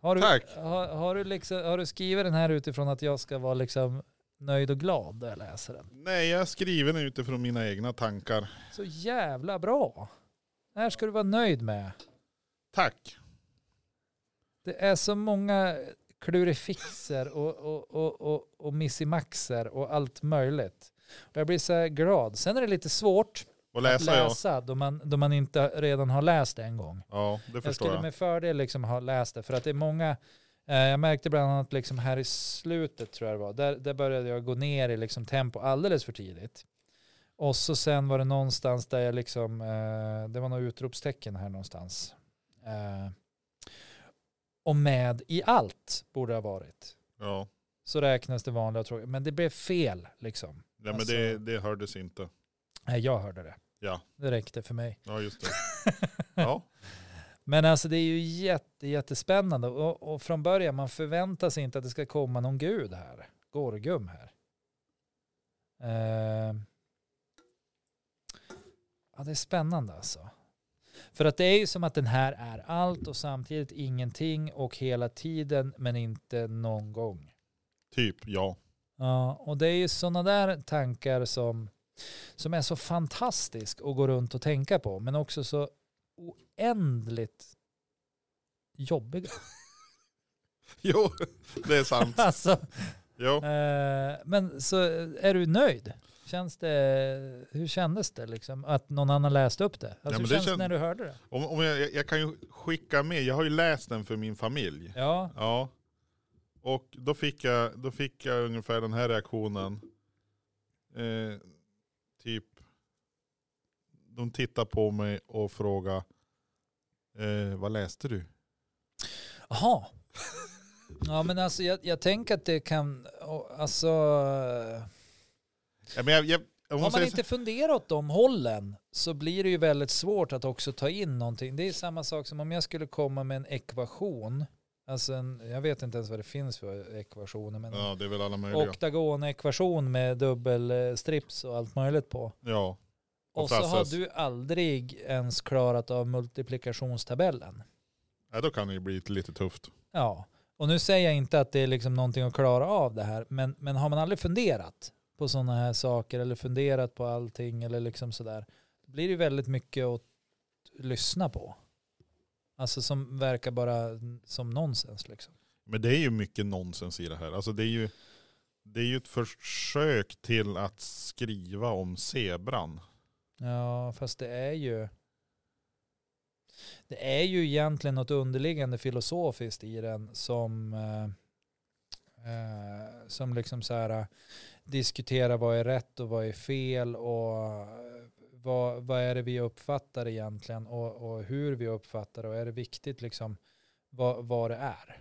Speaker 2: Har du,
Speaker 1: Tack.
Speaker 2: Har, har, du liksom, har du skrivit den här utifrån att jag ska vara liksom nöjd och glad när jag läser den?
Speaker 1: Nej, jag skriver den utifrån mina egna tankar.
Speaker 2: Så jävla bra. Det här ska du vara nöjd med.
Speaker 1: Tack.
Speaker 2: Det är så många klurifixer och, och, och, och, och missimaxer och allt möjligt. Och Jag blir så här glad. Sen är det lite svårt
Speaker 1: Och
Speaker 2: att
Speaker 1: läsa jag.
Speaker 2: läsa då man, då man inte redan har läst det en gång.
Speaker 1: Ja, det
Speaker 2: Jag
Speaker 1: förstår
Speaker 2: skulle
Speaker 1: jag.
Speaker 2: med fördel liksom ha läst det för att det är många eh, jag märkte bland annat liksom här i slutet tror jag det var. Där, där började jag gå ner i liksom tempo alldeles för tidigt. Och så sen var det någonstans där jag liksom, eh, det var några utropstecken här någonstans. Eh, och med i allt borde det ha varit.
Speaker 1: Ja.
Speaker 2: Så räknas det vanliga och tråkiga. Men det blev fel liksom.
Speaker 1: Ja, men
Speaker 2: Alltså-
Speaker 1: det, det hördes inte.
Speaker 2: Nej, jag hörde det.
Speaker 1: Ja.
Speaker 2: Det räckte för mig.
Speaker 1: Ja, just det. Ja,
Speaker 2: Men alltså det är ju jätte, jättespännande och, och från början man förväntar sig inte att det ska komma någon gud här. Gorgum här. Eh, ja, det är spännande alltså. För att det är ju som att den här är allt och samtidigt ingenting och hela tiden men inte någon gång.
Speaker 1: Typ, ja.
Speaker 2: Ja, och det är ju sådana där tankar som, som är så fantastisk att gå runt och tänka på, men också så oändligt jobbiga.
Speaker 1: Jo, det är sant.
Speaker 2: Alltså,
Speaker 1: Jo.
Speaker 2: eh, men så är du nöjd? Känns det, hur kändes det liksom att någon annan läste upp det? Alltså,
Speaker 1: men
Speaker 2: hur
Speaker 1: det
Speaker 2: kändes det
Speaker 1: kän-
Speaker 2: när du hörde det?
Speaker 1: Om, om jag, jag- jag kan ju skicka med, jag har ju läst den för min familj.
Speaker 2: Ja,
Speaker 1: Ja. Och då fick jag, då fick jag ungefär den här reaktionen. Eh, typ, de tittar på mig och frågar, eh, vad läste du?
Speaker 2: Jaha. Ja men alltså jag, jag tänker att det kan, och, alltså,
Speaker 1: Ja, men jag, jag, jag måste
Speaker 2: om man
Speaker 1: säga
Speaker 2: inte funderar åt de hållen så blir det ju väldigt svårt att också ta in någonting. Det är samma sak som om jag skulle komma med en ekvation, alltså en, jag vet inte ens vad det finns för ekvationer, men
Speaker 1: så- ja, det är väl alla möjliga.
Speaker 2: oktagonekvation med dubbelstrips och allt möjligt på.
Speaker 1: ja.
Speaker 2: Och så har
Speaker 1: frases.
Speaker 2: du aldrig ens klarat av multiplikationstabellen.
Speaker 1: ja, då kan det ju bli lite tufft.
Speaker 2: Ja, och nu säger jag inte att det är liksom någonting att klara av det här, men, men har man aldrig funderat på sådana här saker eller funderat på allting eller liksom sådär, då blir det ju väldigt mycket att lyssna på. Alltså som verkar bara som nonsens liksom.
Speaker 1: Men det är ju mycket nonsens i det här. Alltså det är ju, det är ju ett försök till att skriva om zebran.
Speaker 2: Ja, fast det är ju det är ju egentligen något underliggande filosofiskt i den som eh, eh, som liksom så här eh, diskuterar vad är rätt och vad är fel och eh, vad, vad är det vi uppfattar egentligen och, och hur vi uppfattar det och är det viktigt liksom vad, vad det är.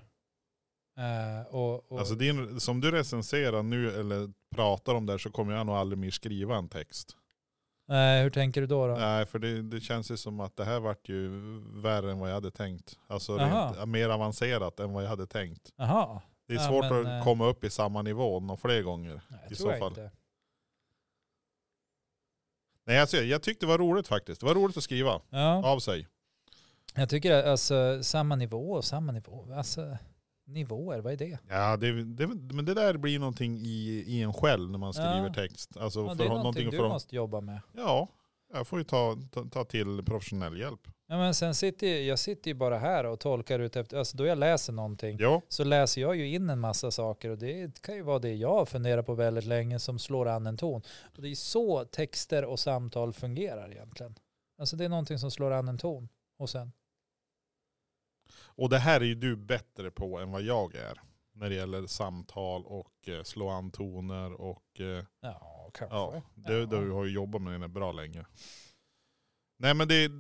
Speaker 2: Eh, och, och,
Speaker 1: Alltså din, som du recenserar nu eller pratar om där så kommer jag nog aldrig mer skriva en text.
Speaker 2: Nej, Eh, hur tänker du då? då?
Speaker 1: Nej, för det, det känns ju som att det här vart ju värre än vad jag hade tänkt. Alltså
Speaker 2: Jaha.
Speaker 1: rent, mer avancerat än vad jag hade tänkt.
Speaker 2: Jaha,
Speaker 1: Det är
Speaker 2: Ja,
Speaker 1: svårt
Speaker 2: men, eh,
Speaker 1: att komma upp i samma nivå några fler gånger.
Speaker 2: nej,
Speaker 1: I
Speaker 2: jag
Speaker 1: så
Speaker 2: tror jag
Speaker 1: fall.
Speaker 2: inte.
Speaker 1: Nej, alltså, jag tyckte det var roligt faktiskt. Det var roligt att skriva
Speaker 2: Ja.
Speaker 1: av sig.
Speaker 2: Jag tycker att, alltså samma nivå och samma nivå. Alltså nivåer, vad är det?
Speaker 1: Ja, det, det, men det där blir någonting i, i en själv när man skriver
Speaker 2: Ja.
Speaker 1: text. Alltså,
Speaker 2: Ja,
Speaker 1: för,
Speaker 2: det är
Speaker 1: någonting
Speaker 2: någonting du
Speaker 1: för,
Speaker 2: måste jobba med.
Speaker 1: Ja, jag får ju ta, ta, ta till professionell hjälp.
Speaker 2: Ja, men sen sitter jag, jag sitter ju bara här och tolkar ut efter, alltså då jag läser någonting
Speaker 1: Ja,
Speaker 2: så läser jag ju in en massa saker och det kan ju vara det jag funderar på väldigt länge som slår an en ton. Och det är så texter och samtal fungerar egentligen. Alltså det är någonting som slår an en ton och sen.
Speaker 1: och det här är ju du bättre på än vad jag är. När det gäller samtal och eh, slå an toner och eh,
Speaker 2: Ja, kanske.
Speaker 1: ja, du,
Speaker 2: Ja.
Speaker 1: du har ju jobbat med det bra länge. Nej men det, eh,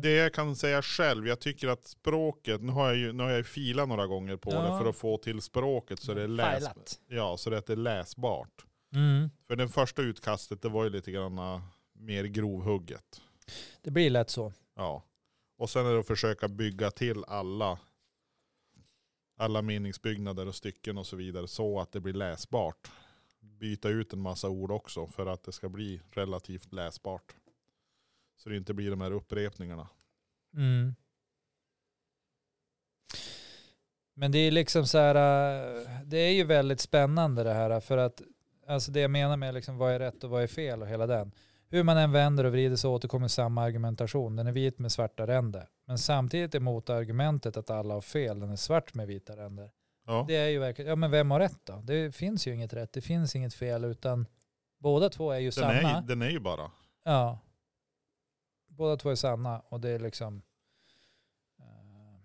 Speaker 1: det jag kan säga själv, jag tycker att språket, nu har jag ju, nu har jag ju filat några gånger på det
Speaker 2: Ja.
Speaker 1: för att få till språket så det är, läs,
Speaker 2: Filat.
Speaker 1: ja, så det att det är läsbart.
Speaker 2: Mm.
Speaker 1: För den första utkastet det var ju lite grann eh, mer grovhugget.
Speaker 2: Det blir lätt så.
Speaker 1: Ja. Och sen är det att försöka bygga till alla, alla meningsbyggnader och stycken och så vidare så att det blir läsbart. Byta ut en massa ord också för att det ska bli relativt läsbart. Så det inte blir de här upprepningarna.
Speaker 2: Mm. Men det är liksom så här, äh, det är ju väldigt spännande det här för att, alltså det jag menar med liksom vad är rätt och vad är fel och hela den. Hur man än vänder och vrider så återkommer samma argumentation. Den är vit med svarta ränder. Men samtidigt är motargumentet att alla har fel. Den är svart med vita ränder.
Speaker 1: Ja,
Speaker 2: Det är ju verkligen, ja men vem har rätt då? Det finns ju inget rätt, det finns inget fel utan båda två är ju
Speaker 1: den,
Speaker 2: sanna.
Speaker 1: är, ju- den är ju bara.
Speaker 2: Ja. Båda två är sanna och det är liksom... eh,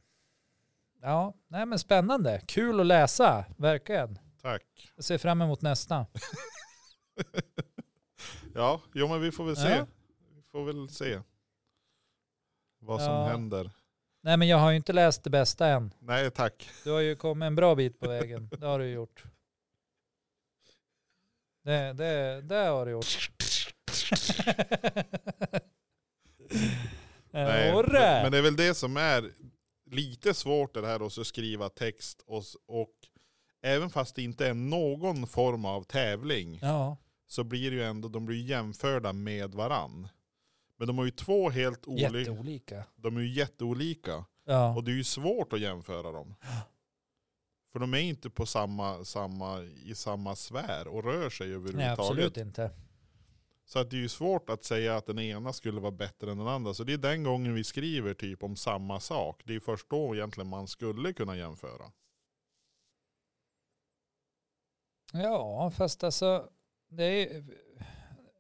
Speaker 2: Ja, nej men spännande. Kul att läsa, verkligen.
Speaker 1: Tack.
Speaker 2: Jag ser fram emot nästa.
Speaker 1: Ja, jo men vi får väl se.
Speaker 2: Ja.
Speaker 1: Vi får väl se vad som
Speaker 2: Ja.
Speaker 1: händer.
Speaker 2: Nej men jag har ju inte läst det bästa än.
Speaker 1: Nej tack.
Speaker 2: Du har ju kommit en bra bit på vägen. Det har du ju gjort. Det, det, det har du gjort.
Speaker 1: Nej, men,
Speaker 2: Orre!
Speaker 1: men det är väl det som är lite svårt det här också, att skriva text och, s- och även fast det inte är någon form av tävling
Speaker 2: Ja,
Speaker 1: så blir det ju ändå, de blir ju jämförda med varann. Men de har ju två helt olika,
Speaker 2: jätteolika.
Speaker 1: de är ju jätteolika.
Speaker 2: Ja,
Speaker 1: Och det är ju svårt att jämföra dem. För de är inte på samma, samma, i samma sfär och rör sig
Speaker 2: nej
Speaker 1: överhuvudtaget.
Speaker 2: absolut inte.
Speaker 1: Så att det är ju svårt att säga att den ena skulle vara bättre än den andra. Så det är den gången vi skriver typ om samma sak. Det är först då egentligen man skulle kunna jämföra.
Speaker 2: Ja, fast alltså, det är,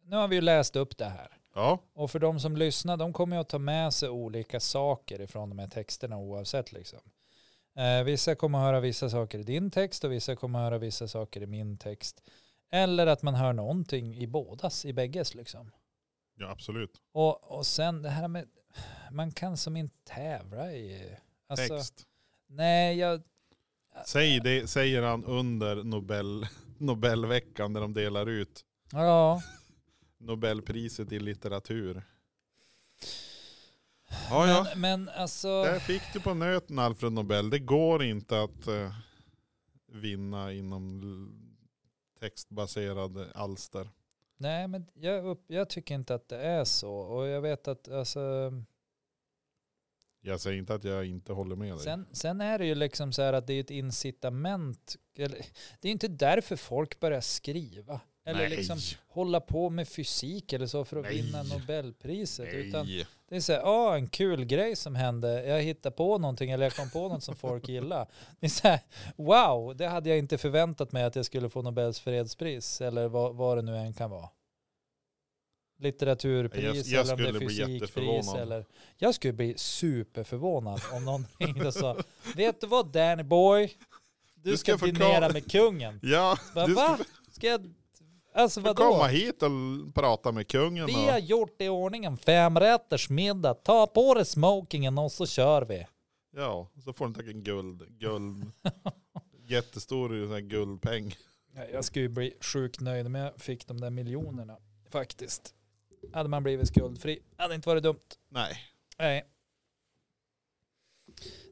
Speaker 2: nu har vi ju läst upp det här.
Speaker 1: Ja,
Speaker 2: Och för de som lyssnar, de kommer ju att ta med sig olika saker ifrån de här texterna oavsett liksom. Eh, vissa kommer att höra vissa saker i din text och vissa kommer att höra vissa saker i min text. Eller att man hör någonting i bådas, i bägges liksom.
Speaker 1: ja absolut.
Speaker 2: Och, och sen det här med, man kan som inte tävla i... Alltså,
Speaker 1: Text.
Speaker 2: Nej, jag...
Speaker 1: Säg det, säger han under Nobel, Nobelveckan när de delar ut
Speaker 2: Ja,
Speaker 1: Nobelpriset i litteratur. Ja, ja.
Speaker 2: Men, men alltså...
Speaker 1: Där fick du på nöten Alfred Nobel. Det går inte att eh, vinna inom l- textbaserade alster.
Speaker 2: Nej, men jag, upp, jag tycker inte att det är så. Och jag vet att alltså...
Speaker 1: Jag säger inte att jag inte håller med dig.
Speaker 2: Sen, sen är det ju liksom så här att det är ett incitament. Eller, det är inte därför folk börjar skriva. Eller liksom hålla på med fysik eller så för att
Speaker 1: Nej.
Speaker 2: vinna Nobelpriset. Utan
Speaker 1: Nej.
Speaker 2: det är så här, ah, en kul grej som hände. Jag hittade på någonting eller jag kom på något som folk gillar. Det är så här, wow, det hade jag inte förväntat mig att jag skulle få Nobels fredspris. Eller vad, vad det nu än kan vara. Litteraturpris
Speaker 1: Jag- jag
Speaker 2: eller om det
Speaker 1: skulle
Speaker 2: är
Speaker 1: bli
Speaker 2: fysikpris.
Speaker 1: jätteförvånad.
Speaker 2: Eller, jag skulle bli superförvånad om någon ringde och sa, vet du vad Danny boy, du,
Speaker 1: Du
Speaker 2: ska,
Speaker 1: ska
Speaker 2: ska
Speaker 1: få
Speaker 2: dinera
Speaker 1: kom-
Speaker 2: med kungen.
Speaker 1: Ja,
Speaker 2: Bara,
Speaker 1: du
Speaker 2: Va?
Speaker 1: ska
Speaker 2: Ska jag, alltså
Speaker 1: få
Speaker 2: vadå?
Speaker 1: komma hit och l- prata med kungen.
Speaker 2: Vi har
Speaker 1: Och,
Speaker 2: gjort det i ordningen, femrättersmiddag. Ta på dig smokingen och så kör vi.
Speaker 1: ja, så får du ta en guld, guld jättestor sån här guldpeng.
Speaker 2: Jag skulle ju bli sjukt nöjd om jag fick de där miljonerna faktiskt. Hade man blivit skuldfri, hade inte varit dumt.
Speaker 1: Nej,
Speaker 2: Nej.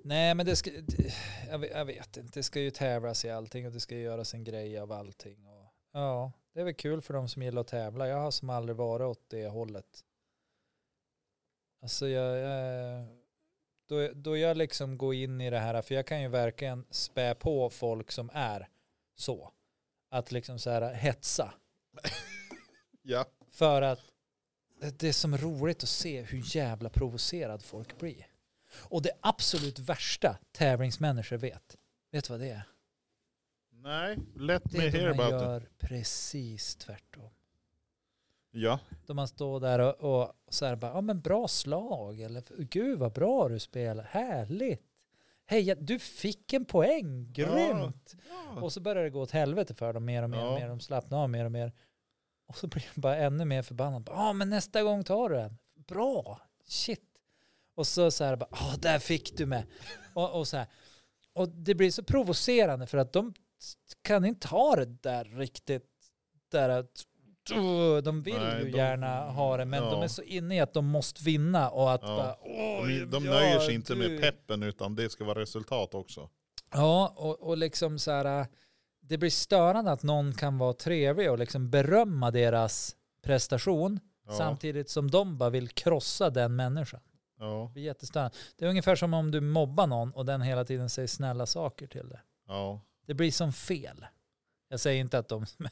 Speaker 2: Nej, men det ska, det- jag, vet- jag vet inte. Det ska ju tävlas i allting och det ska ju göras en grej av allting. Och, ja, det är väl kul för de som gillar att tävla. Jag har som aldrig varit åt det hållet. Alltså jag, jag då, då jag liksom går in i det här, för jag kan ju verkligen spä på folk som är så. Att liksom så här hetsa.
Speaker 1: ja.
Speaker 2: För att det är som roligt att se hur jävla provocerad folk blir. Och det absolut värsta tävlingsmänniskor vet, vet du vad det är?
Speaker 1: Nej, let
Speaker 2: Det
Speaker 1: me hear
Speaker 2: är då man
Speaker 1: about it.
Speaker 2: gör precis tvärtom.
Speaker 1: Ja,
Speaker 2: Då man står där och, och så här bara, ja men bra slag, eller gud vad bra du spelar, härligt. Hej, du fick en poäng, grymt. Och så börjar det gå åt helvete för dem mer och mer, och
Speaker 1: Ja.
Speaker 2: mer. de slappnar av mer och mer. Och så blir de bara ännu mer förbannade. Ja, ah, men nästa gång tar du den. Bra, shit. Och så så här bara, ja, ah, där fick du med. Och, och så här. Och det blir så provocerande för att de kan inte ha det där riktigt. Där att, de vill
Speaker 1: Nej,
Speaker 2: ju
Speaker 1: de-
Speaker 2: gärna ha det, men
Speaker 1: ja.
Speaker 2: de är så inne i att de måste vinna och att
Speaker 1: Ja.
Speaker 2: bara,
Speaker 1: de, de
Speaker 2: ja,
Speaker 1: nöjer sig inte
Speaker 2: du-
Speaker 1: med peppen utan det ska vara resultat också.
Speaker 2: Ja, och, och liksom så här, äh, det blir störande att någon kan vara trevlig och liksom berömma deras prestation
Speaker 1: Ja,
Speaker 2: samtidigt som de bara vill krossa den människan.
Speaker 1: ja,
Speaker 2: Det blir jättestörande. Det är ungefär som om du mobbar någon och den hela tiden säger snälla saker till dig.
Speaker 1: ja.
Speaker 2: Det blir som fel. Jag säger inte att de som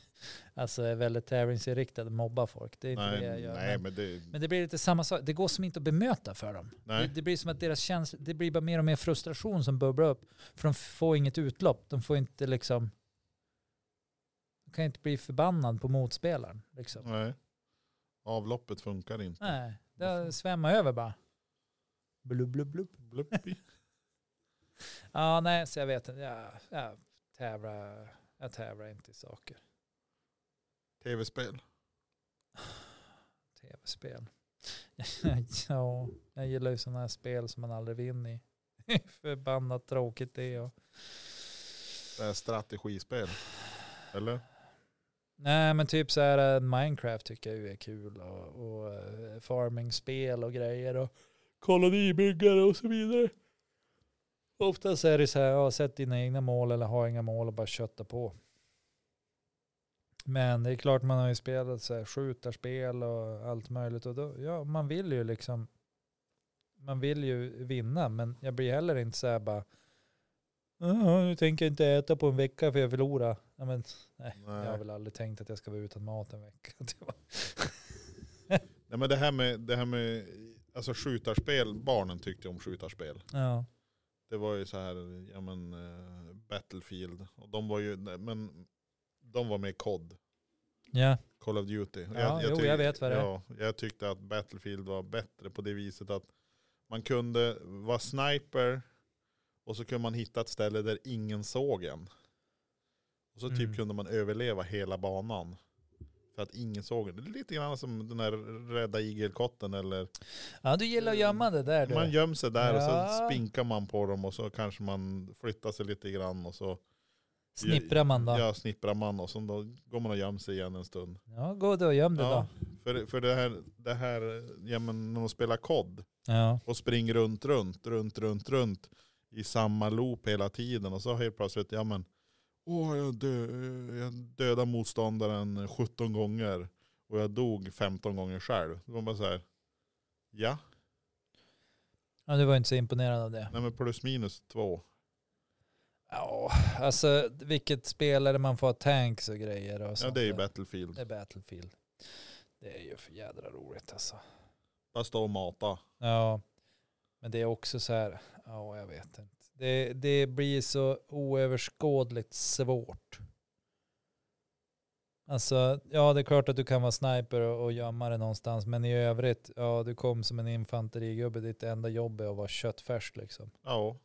Speaker 2: alltså, är väldigt tävlingsinriktade mobbar folk. Det är inte
Speaker 1: Nej,
Speaker 2: det jag gör.
Speaker 1: nej,
Speaker 2: men,
Speaker 1: men det,
Speaker 2: men det blir lite samma sak. Det går som inte att bemöta för dem. Det,
Speaker 1: nej.
Speaker 2: det blir som att deras känslor, det blir bara mer och mer frustration som bubblar upp. För de får inget utlopp. De får inte liksom, de kan inte bli förbannad på motspelaren. Liksom.
Speaker 1: nej. Avloppet funkar inte.
Speaker 2: Nej, det svämmar över bara. Blub, blub, blub.
Speaker 1: Bluppi.
Speaker 2: Ja, nej, så jag vet inte. Jag, jag, tävlar, jag tävlar inte i saker.
Speaker 1: Tv-spel.
Speaker 2: Tv-spel. ja, jag gillar ju sådana här spel som man aldrig vinner i. Förbannat tråkigt det är. och-
Speaker 1: Det är eh, strategispel. Eller?
Speaker 2: Nej men typ så här eh, Minecraft tycker jag ju är kul och, och eh, farmingspel och grejer och kolonibyggare och så vidare. Oftast är det så här, ja, sätt dina egna mål eller ha inga mål och bara kötta på. Men det är klart man har ju spelat så här skjutarspel och allt möjligt och då, ja, man vill ju liksom, man vill ju vinna, men jag blir heller inte så här bara, "Ja, nu tänker jag inte äta på en vecka för jag förlorar. Ja, men, nej, jag har
Speaker 1: Nej.
Speaker 2: väl aldrig tänkt att jag ska vara utan mat en vecka. Det var-
Speaker 1: Nej, men det här med, det här med alltså skjutarspel, barnen tyckte om skjutarspel.
Speaker 2: ja,
Speaker 1: Det var ju så här, ja men eh, Battlefield. Och de var ju, nej, men de var med i COD,
Speaker 2: ja,
Speaker 1: Call of Duty. Ja,
Speaker 2: jo, jag vet vad det är.
Speaker 1: ja, Jag tyckte att Battlefield var bättre på det viset att man kunde vara sniper och så kunde man hitta ett ställe där ingen såg en. Och så typ
Speaker 2: Mm.
Speaker 1: kunde man överleva hela banan. För att ingen såg en. Det är lite grann som den här rädda igelkotten eller
Speaker 2: ja, du gillar att gömma det där du.
Speaker 1: Mm. Man gömmer sig där och
Speaker 2: Ja.
Speaker 1: så spinkar man på dem och så kanske man flyttar sig lite grann och så
Speaker 2: Snipprar man då?
Speaker 1: ja, snipprar man och så då går man och gömmer sig igen en stund.
Speaker 2: Ja, gå då och göm dig då.
Speaker 1: Ja, för för det, här, det här, ja men när de spelar kod
Speaker 2: Ja.
Speaker 1: och springer runt, runt, runt, runt, runt i samma loop hela tiden och så helt plötsligt, ja men, åh jag, dö, jag dödade motståndaren 17 gånger och jag dog 15 gånger själv. Då var man bara så här, ja,
Speaker 2: ja, du var inte så imponerad av det.
Speaker 1: nej men plus minus två.
Speaker 2: Ja, alltså vilket spel är det man får ha tanks och grejer och
Speaker 1: Ja
Speaker 2: sånt
Speaker 1: det är ju
Speaker 2: där?
Speaker 1: Battlefield.
Speaker 2: Det är Battlefield. Det är ju för jädra roligt alltså.
Speaker 1: Bara stå och mata.
Speaker 2: Ja, men det är också så här, ja jag vet inte. Det, det blir så oöverskådligt svårt. Alltså, ja det är klart att du kan vara sniper och, och gömma dig någonstans, men i övrigt, ja du kom som en infanterigubbe, ditt enda jobb är att vara köttfärs liksom.
Speaker 1: Ja,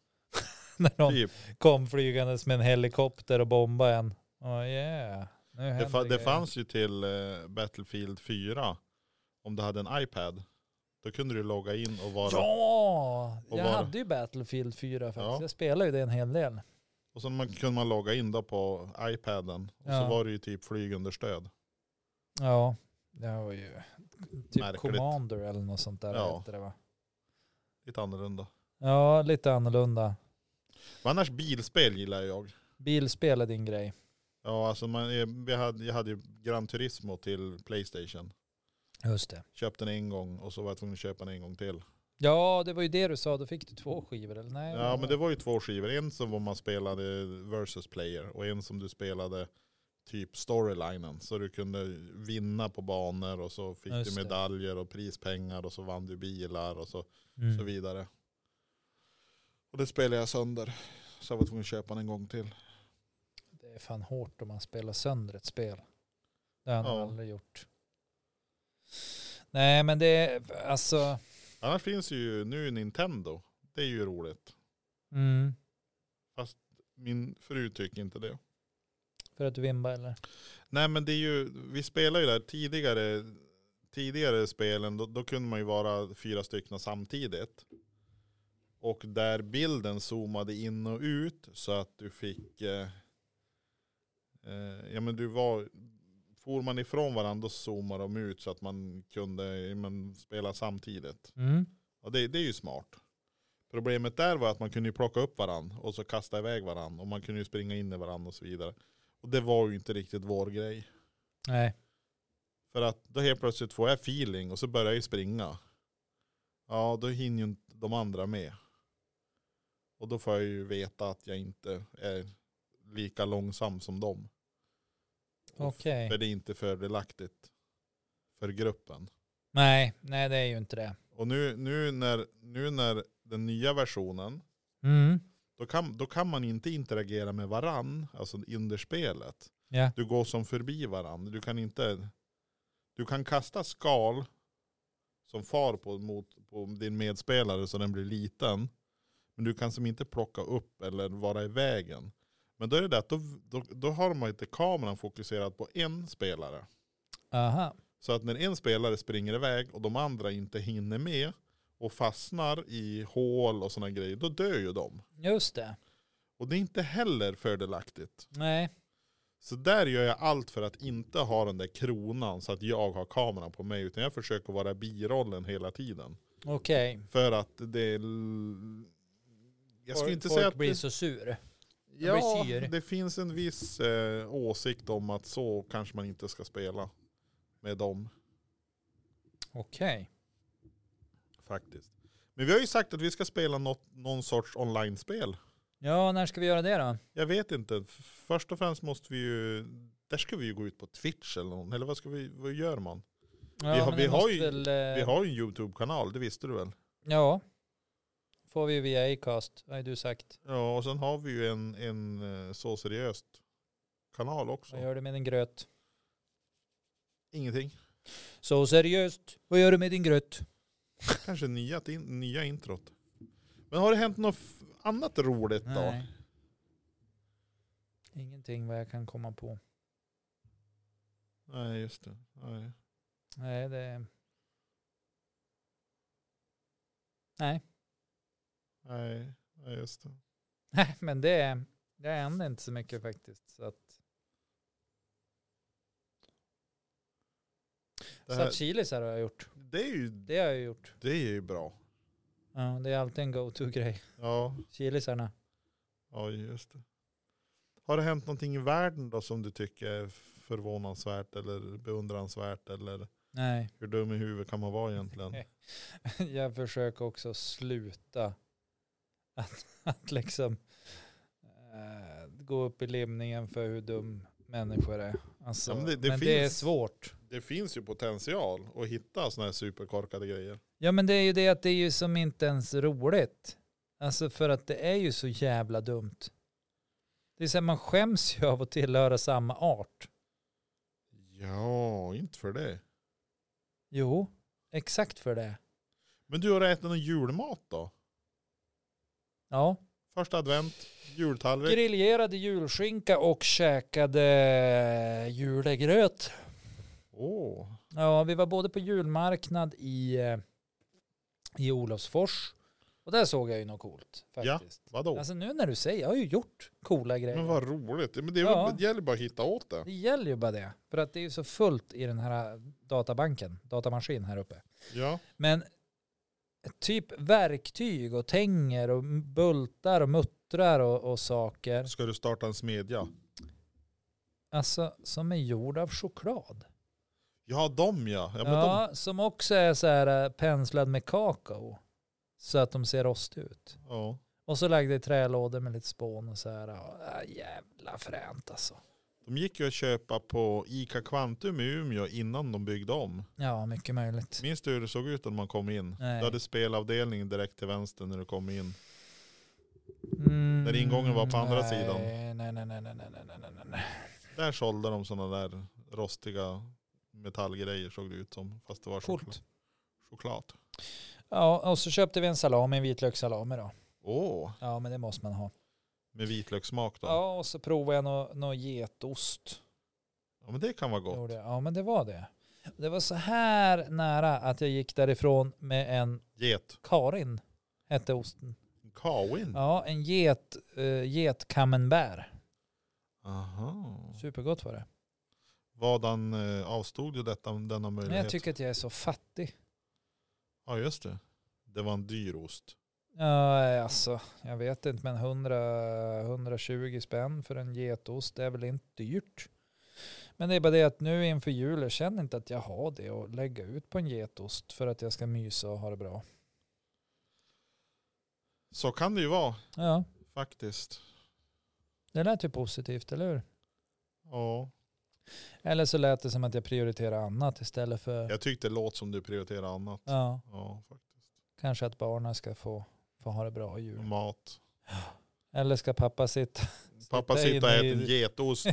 Speaker 2: När någon
Speaker 1: typ.
Speaker 2: kom flygandes med en helikopter och bombade en. Oh yeah. Nu
Speaker 1: Det,
Speaker 2: händer
Speaker 1: fa- det
Speaker 2: grejer.
Speaker 1: fanns ju till eh, Battlefield 4. Om du hade en iPad. Då kunde du logga in och vara.
Speaker 2: Ja,
Speaker 1: Och
Speaker 2: jag
Speaker 1: bara-
Speaker 2: hade ju Battlefield 4 faktiskt.
Speaker 1: Ja.
Speaker 2: Jag spelade ju det en hel del.
Speaker 1: Och sen man, kunde man logga in då på iPaden. Och
Speaker 2: Ja.
Speaker 1: så var det ju typ flygunderstöd.
Speaker 2: Ja, det var ju typ
Speaker 1: Märkligt.
Speaker 2: Commander eller något sånt där.
Speaker 1: Ja.
Speaker 2: Hette det, va?
Speaker 1: Lite annorlunda.
Speaker 2: ja, lite annorlunda.
Speaker 1: Men annars bilspel gillar jag.
Speaker 2: Bilspel är din grej.
Speaker 1: Ja, alltså man, eh, vi hade, jag hade ju Gran Turismo till Playstation.
Speaker 2: Just det.
Speaker 1: Köpte den en gång och så var jag tvungen att köpa den en gång till.
Speaker 2: Ja, det var ju det du sa. Då fick du två skivor eller nej?
Speaker 1: Ja men det var ju två skivor. En som var man spelade versus player och en som du spelade typ storylinen. Så du kunde vinna på banor och så fick
Speaker 2: Just
Speaker 1: du
Speaker 2: det.
Speaker 1: medaljer och prispengar och så vann du bilar och så,
Speaker 2: Mm.
Speaker 1: så vidare. Och det spelade jag sönder. Så jag var tvungen att köpa den en gång till.
Speaker 2: Det är fan hårt om man spelar sönder ett spel. Det har jag nog
Speaker 1: Ja.
Speaker 2: aldrig gjort. Nej men det är alltså.
Speaker 1: Annars finns ju nu Nintendo. Det är ju roligt.
Speaker 2: Mm.
Speaker 1: Min fru tycker inte det.
Speaker 2: För att du vimbar eller?
Speaker 1: Nej men det är ju, vi spelar ju där tidigare, tidigare spelen, då, då kunde man ju vara fyra stycken samtidigt. Och där bilden zoomade in och ut så att du fick, eh, eh, ja men du var, for man ifrån varandra då zoomade de ut så att man kunde ja, men, spela samtidigt.
Speaker 2: Mm.
Speaker 1: Och det, det är ju smart. Problemet där var att man kunde ju plocka upp varandra och så kasta iväg varandra och man kunde ju springa in i varandra och så vidare. Och det var ju inte riktigt vår grej.
Speaker 2: Nej.
Speaker 1: För att då helt plötsligt får jag feeling och så börjar jag ju springa. Ja, då hinner ju inte de andra med. Och då får jag ju veta att jag inte är lika långsam som dem. Och
Speaker 2: Okej.
Speaker 1: För det är inte fördelaktigt för gruppen.
Speaker 2: Nej. Nej det är ju inte det.
Speaker 1: Och nu, nu, när, nu när den nya versionen,
Speaker 2: Mm.
Speaker 1: då kan, då kan man inte interagera med varann, alltså under spelet.
Speaker 2: Ja.
Speaker 1: Du går som förbi varandra. Du kan inte... Du kan kasta skal som far på, mot, på din medspelare så den blir liten. Men du kan som inte plocka upp eller vara i vägen. Men då är det det att då, då, då har man inte kameran fokuserad på en spelare.
Speaker 2: Aha.
Speaker 1: Så att när en spelare springer iväg och de andra inte hinner med och fastnar i hål och sådana grejer, då dör ju de.
Speaker 2: Just det.
Speaker 1: Och det är inte heller fördelaktigt.
Speaker 2: Nej.
Speaker 1: Så där gör jag allt för att inte ha den där kronan så att jag har kameran på mig. Utan jag försöker vara birollen hela tiden.
Speaker 2: Okej.
Speaker 1: För att det är l- jag skulle inte
Speaker 2: folk
Speaker 1: säga att
Speaker 2: blir
Speaker 1: det,
Speaker 2: så sur.
Speaker 1: ja,
Speaker 2: blir sur.
Speaker 1: det finns en viss eh, åsikt om att så kanske man inte ska spela med dem
Speaker 2: Okej.
Speaker 1: faktiskt. Men vi har ju sagt att vi ska spela något, någon sorts online-spel.
Speaker 2: Ja, när ska vi göra det då?
Speaker 1: Jag vet inte. F- Först och främst måste vi ju, där ska vi ju gå ut på Twitch eller någon, eller vad ska vi, vad gör man?
Speaker 2: Ja,
Speaker 1: Vi har-
Speaker 2: men
Speaker 1: vi
Speaker 2: det
Speaker 1: har
Speaker 2: måste
Speaker 1: ju-
Speaker 2: väl, eh,
Speaker 1: Vi har ju en YouTube-kanal, det visste du väl?
Speaker 2: Ja. Får vi via Acast, har ju du sagt.
Speaker 1: Ja, och sen har vi ju en, en eh, så seriöst kanal också.
Speaker 2: Vad gör du med din gröt?
Speaker 1: Ingenting.
Speaker 2: Så seriöst, vad gör du med din gröt?
Speaker 1: Kanske nya, till- nya introt. Men har det hänt något f- annat roligt då?
Speaker 2: Nej. Ingenting vad jag kan komma på.
Speaker 1: Nej, just det. Nej.
Speaker 2: Nej, det... Nej,
Speaker 1: Nej, nej, just det.
Speaker 2: Nej, men det, det händer inte så mycket faktiskt. Så att,
Speaker 1: Det,
Speaker 2: så
Speaker 1: här,
Speaker 2: att chilisar har jag gjort.
Speaker 1: det, är ju,
Speaker 2: Det har jag gjort.
Speaker 1: det är ju bra.
Speaker 2: Ja, det är alltid en go-to-grej.
Speaker 1: Ja,
Speaker 2: Chilisarna.
Speaker 1: ja, just det. Har det hänt någonting i världen då som du tycker är förvånansvärt eller beundransvärt eller
Speaker 2: Nej,
Speaker 1: hur dum i huvudet kan man vara egentligen?
Speaker 2: jag försöker också sluta att, att liksom eh, gå upp i limningen för hur dum människor är. Alltså,
Speaker 1: Ja,
Speaker 2: men
Speaker 1: men
Speaker 2: det,
Speaker 1: det- det
Speaker 2: är
Speaker 1: finns.
Speaker 2: svårt.
Speaker 1: Det finns ju potential att hitta sådana här superkorkade grejer.
Speaker 2: Ja men det är ju det att det är ju som inte ens roligt. Alltså för att det är ju så jävla dumt. Det är så här, man skäms ju av att tillhöra samma art.
Speaker 1: Ja, inte för det.
Speaker 2: Jo, exakt för det.
Speaker 1: Men du har ätit någon julmat då?
Speaker 2: Ja.
Speaker 1: Första advent, jultallrik.
Speaker 2: Griljerade julskinka och käkade julegröt.
Speaker 1: Åh,
Speaker 2: Ja, vi var både på julmarknad i, eh, i Olofsfors och där såg jag ju något coolt
Speaker 1: Ja. Oh. Mm.
Speaker 2: faktiskt.
Speaker 1: vadå?
Speaker 2: Alltså nu när du säger, jag har ju gjort coola grejer.
Speaker 1: men vad roligt. Men det, är
Speaker 2: Ja.
Speaker 1: väl, det gäller bara att hitta åt det.
Speaker 2: Det gäller ju bara det, för att det är ju så fullt i den här eh, databanken, datamaskin här uppe.
Speaker 1: Ja.
Speaker 2: Men typ verktyg och tänger och bultar och muttrar och, och saker,
Speaker 1: Ska du starta en smedja?
Speaker 2: alltså som är gjord av choklad.
Speaker 1: Ja, de ja. Ja,
Speaker 2: Ja,
Speaker 1: men
Speaker 2: som också är så här eh, penslad med kakao, så att de ser rostig ut.
Speaker 1: De, ja.
Speaker 2: Och så lagde jag i trälådor med lite spån och så här. Ja, äh, jävla fränt alltså.
Speaker 1: de gick ju att köpa på Ica Kvantum i Umeå innan de byggde om.
Speaker 2: Ja, mycket möjligt.
Speaker 1: Minns du hur det såg ut när man kom in?
Speaker 2: Nej.
Speaker 1: Du hade spelavdelningen direkt till vänster när du kom in.
Speaker 2: Mm,
Speaker 1: Där ingången var på andra
Speaker 2: nej,
Speaker 1: sidan.
Speaker 2: Nej, nej, nej, nej, nej, nej, nej, nej, nej.
Speaker 1: Där sålde de sådana där rostiga metallgrejer såg det ut som. Fast det var choklad.
Speaker 2: Coolt.
Speaker 1: choklad.
Speaker 2: Ja, och så köpte vi en salami, en vitlökssalami då.
Speaker 1: Åh,
Speaker 2: Ja, men det måste man ha.
Speaker 1: med vitlökssmak då. Ja.
Speaker 2: Ja, och så provade jag någon nå getost.
Speaker 1: men det kan vara gott.
Speaker 2: Gjorde jag. Ja, men det var det. Det var så här nära att jag gick därifrån med en
Speaker 1: Get.
Speaker 2: Karin, hette osten.
Speaker 1: Kawin.
Speaker 2: Ja, en get, uh, getkammenbär.
Speaker 1: Aha.
Speaker 2: Supergott var det.
Speaker 1: Vadan eh, avstod ju detta, denna
Speaker 2: Men
Speaker 1: möjlighet?
Speaker 2: jag tycker att jag är så fattig.
Speaker 1: Ja just det. Det var en dyr ost.
Speaker 2: Ja, alltså, jag vet inte, men 100, 120 spänn för en getost det är väl inte dyrt. Men det är bara det att nu inför jul, jag känner inte att jag har det att lägga ut på en getost för att jag ska mysa och ha det bra.
Speaker 1: Så kan det ju vara
Speaker 2: Ja,
Speaker 1: faktiskt.
Speaker 2: det lät ju positivt, eller hur?
Speaker 1: Ja.
Speaker 2: Eller så lät det som att jag prioriterar annat istället för,
Speaker 1: Jag tyckte det låter som du prioriterar annat.
Speaker 2: ja,
Speaker 1: Ja, faktiskt.
Speaker 2: kanske att barnen ska få, få ha det bra i
Speaker 1: Och
Speaker 2: jul.
Speaker 1: Mat.
Speaker 2: Eller ska pappa sitta,
Speaker 1: Pappa
Speaker 2: Sitta
Speaker 1: sitter och äter
Speaker 2: inne i-
Speaker 1: en getost.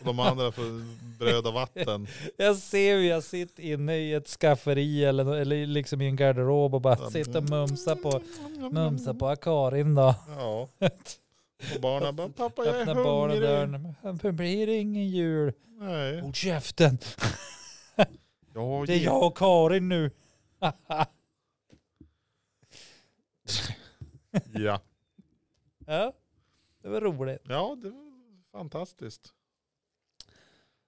Speaker 1: Och de andra får bröd och vatten.
Speaker 2: Jag ser hur jag sitter inne i ett skafferi eller, eller liksom i en garderob och bara sitter och mumsar på, mumsa på Karin då.
Speaker 1: Ja. Och barnen bara, pappa jag är
Speaker 2: Öppnar
Speaker 1: hungrig.
Speaker 2: barndörren. Men blir det ingen jul?
Speaker 1: Nej.
Speaker 2: Håll käften,
Speaker 1: Ja,
Speaker 2: det är
Speaker 1: get-
Speaker 2: jag och Karin nu.
Speaker 1: ja.
Speaker 2: ja, det var roligt.
Speaker 1: ja, det var fantastiskt.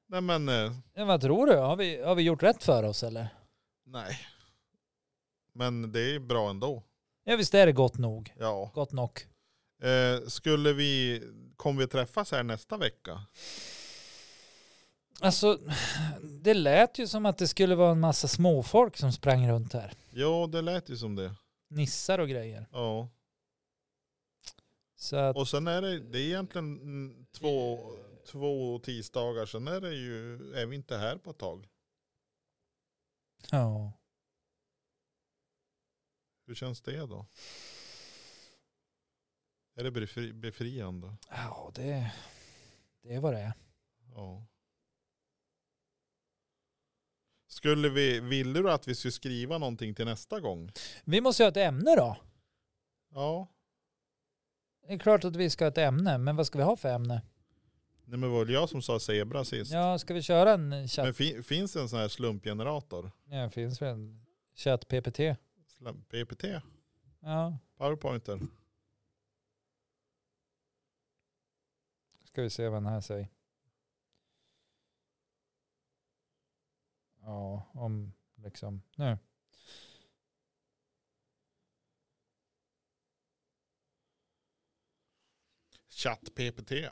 Speaker 1: Nej men, eh,
Speaker 2: Men vad tror du? Har vi, har vi gjort rätt för oss eller?
Speaker 1: nej. Men det är bra ändå.
Speaker 2: Ja visst är det gott nog.
Speaker 1: Ja.
Speaker 2: Gott nog.
Speaker 1: Eh, skulle vi, kommer vi träffas här nästa vecka?
Speaker 2: Alltså, det lät ju som att det skulle vara en massa småfolk som sprang runt här.
Speaker 1: Jo, det lät ju som det.
Speaker 2: Nissar och grejer.
Speaker 1: Ja.
Speaker 2: Så att,
Speaker 1: Och sen är det, det är egentligen mm, två, två tisdagar, sen är det ju, är vi inte här på ett tag.
Speaker 2: ja.
Speaker 1: Hur känns det då? Är det befri, befriande?
Speaker 2: Ja, det, det är vad det är.
Speaker 1: Ja. Skulle vi, ville du att vi skulle skriva någonting till nästa gång?
Speaker 2: Vi måste ju ha ett ämne då.
Speaker 1: Ja.
Speaker 2: Det är klart att vi ska ha ett ämne, men vad ska vi ha för ämne?
Speaker 1: Nej, men det var väl jag som sa zebra sist.
Speaker 2: Ja, ska vi köra en chatt?
Speaker 1: Men fi, finns det en sån här slumpgenerator?
Speaker 2: Ja, det finns väl en chatt-PPT?
Speaker 1: Slump, PPT?
Speaker 2: Ja,
Speaker 1: Powerpointer?
Speaker 2: ska vi se vad den här säger. Ja, om liksom, nu.
Speaker 1: Chatt PPT. Nej,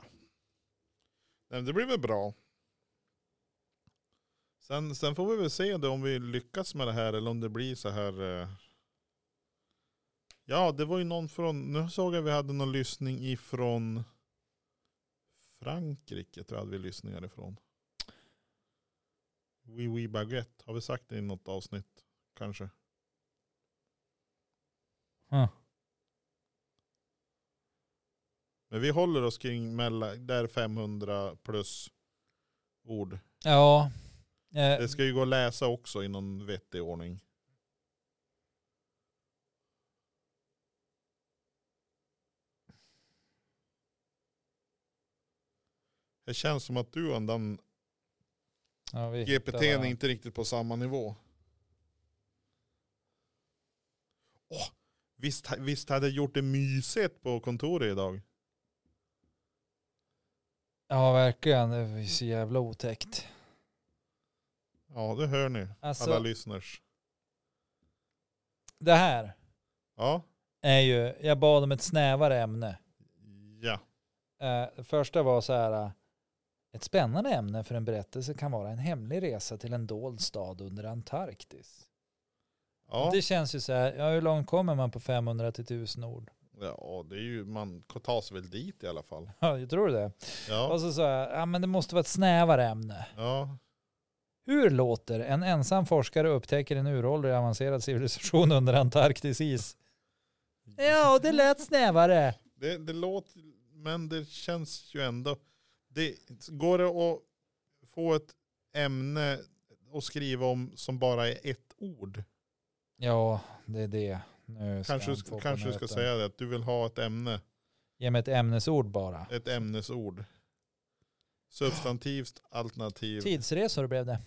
Speaker 1: men det blir väl bra. Sen, sen får vi väl se då om vi lyckas med det här eller om det blir så här. Eh... Ja, det var ju någon från, nu såg jag vi hade någon lyssning ifrån Frankrike tror jag hade vi lyssningar ifrån. Oui oui baguette, har vi sagt det i något avsnitt kanske?
Speaker 2: Huh.
Speaker 1: Men vi håller oss kring mellan, där 500 plus ord.
Speaker 2: Ja. Eh,
Speaker 1: Det ska ju gå att läsa också i någon vettig ordning. Det känns som att du och den
Speaker 2: ja, vi hittar
Speaker 1: GPT är
Speaker 2: varandra.
Speaker 1: inte riktigt på samma nivå. Åh, visst, visst hade jag gjort det mysigt på kontoret idag?
Speaker 2: Ja, verkligen. Det är så jävla otäckt.
Speaker 1: Ja, det hör ni, alla
Speaker 2: Alltså,
Speaker 1: lyssners.
Speaker 2: det här
Speaker 1: Ja,
Speaker 2: är ju, jag bad om ett snävare ämne.
Speaker 1: ja.
Speaker 2: Eh, det första var så här, eh, ett spännande ämne för en berättelse kan vara en hemlig resa till en dold stad under Antarktis.
Speaker 1: ja.
Speaker 2: Det känns ju så här, ja, hur långt kommer man på 500 till 1000 ord?
Speaker 1: Ja, det är ju, man tas väl dit i alla fall.
Speaker 2: Ja, jag tror det.
Speaker 1: Ja,
Speaker 2: Och så sa jag, ja men det måste vara ett snävare ämne.
Speaker 1: ja.
Speaker 2: Hur låter en ensam forskare upptäcker en uråldrig avancerad civilisation under Antarktis is? Ja, det lät snävare.
Speaker 1: Det, det låter, men det känns ju ändå. Det, går det att få ett ämne att skriva om som bara är ett ord?
Speaker 2: Ja, det är det. Nu ska
Speaker 1: Kanske,
Speaker 2: han
Speaker 1: du
Speaker 2: få
Speaker 1: sk-
Speaker 2: på
Speaker 1: kanske du ska
Speaker 2: nöten.
Speaker 1: säga det, att du vill ha ett ämne,
Speaker 2: Ge mig ett ämnesord bara.
Speaker 1: ett ämnesord. Substantivt alternativ.
Speaker 2: Tidsresor blev det.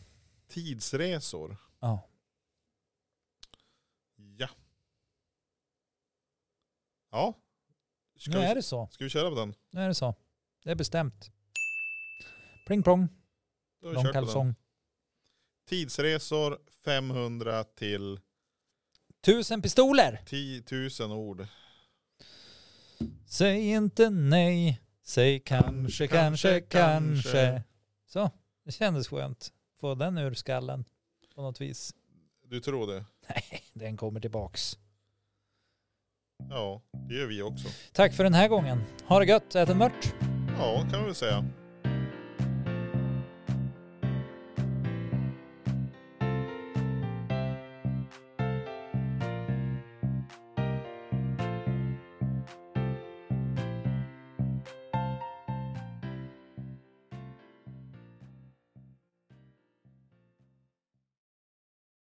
Speaker 1: Tidsresor.
Speaker 2: Ja.
Speaker 1: Ja. Ja. Ska,
Speaker 2: Nu är
Speaker 1: vi,
Speaker 2: det så.
Speaker 1: ska vi köra på den?
Speaker 2: Nu är det så. Det är bestämt. Pling plong,
Speaker 1: Då har vi
Speaker 2: lång
Speaker 1: kört på den.
Speaker 2: kalsong.
Speaker 1: Tidsresor 500 till
Speaker 2: Tusen pistoler!
Speaker 1: 10 000 ord.
Speaker 2: Säg inte nej. Säg kanske, kanske,
Speaker 1: kanske.
Speaker 2: kanske. Så, det kändes skönt. Få den ur skallen på något vis.
Speaker 1: Du tror det?
Speaker 2: Nej, den kommer tillbaks.
Speaker 1: Ja, det gör vi också.
Speaker 2: Tack för den här gången. Ha det gött, ät en mört.
Speaker 1: Ja, kan vi väl säga.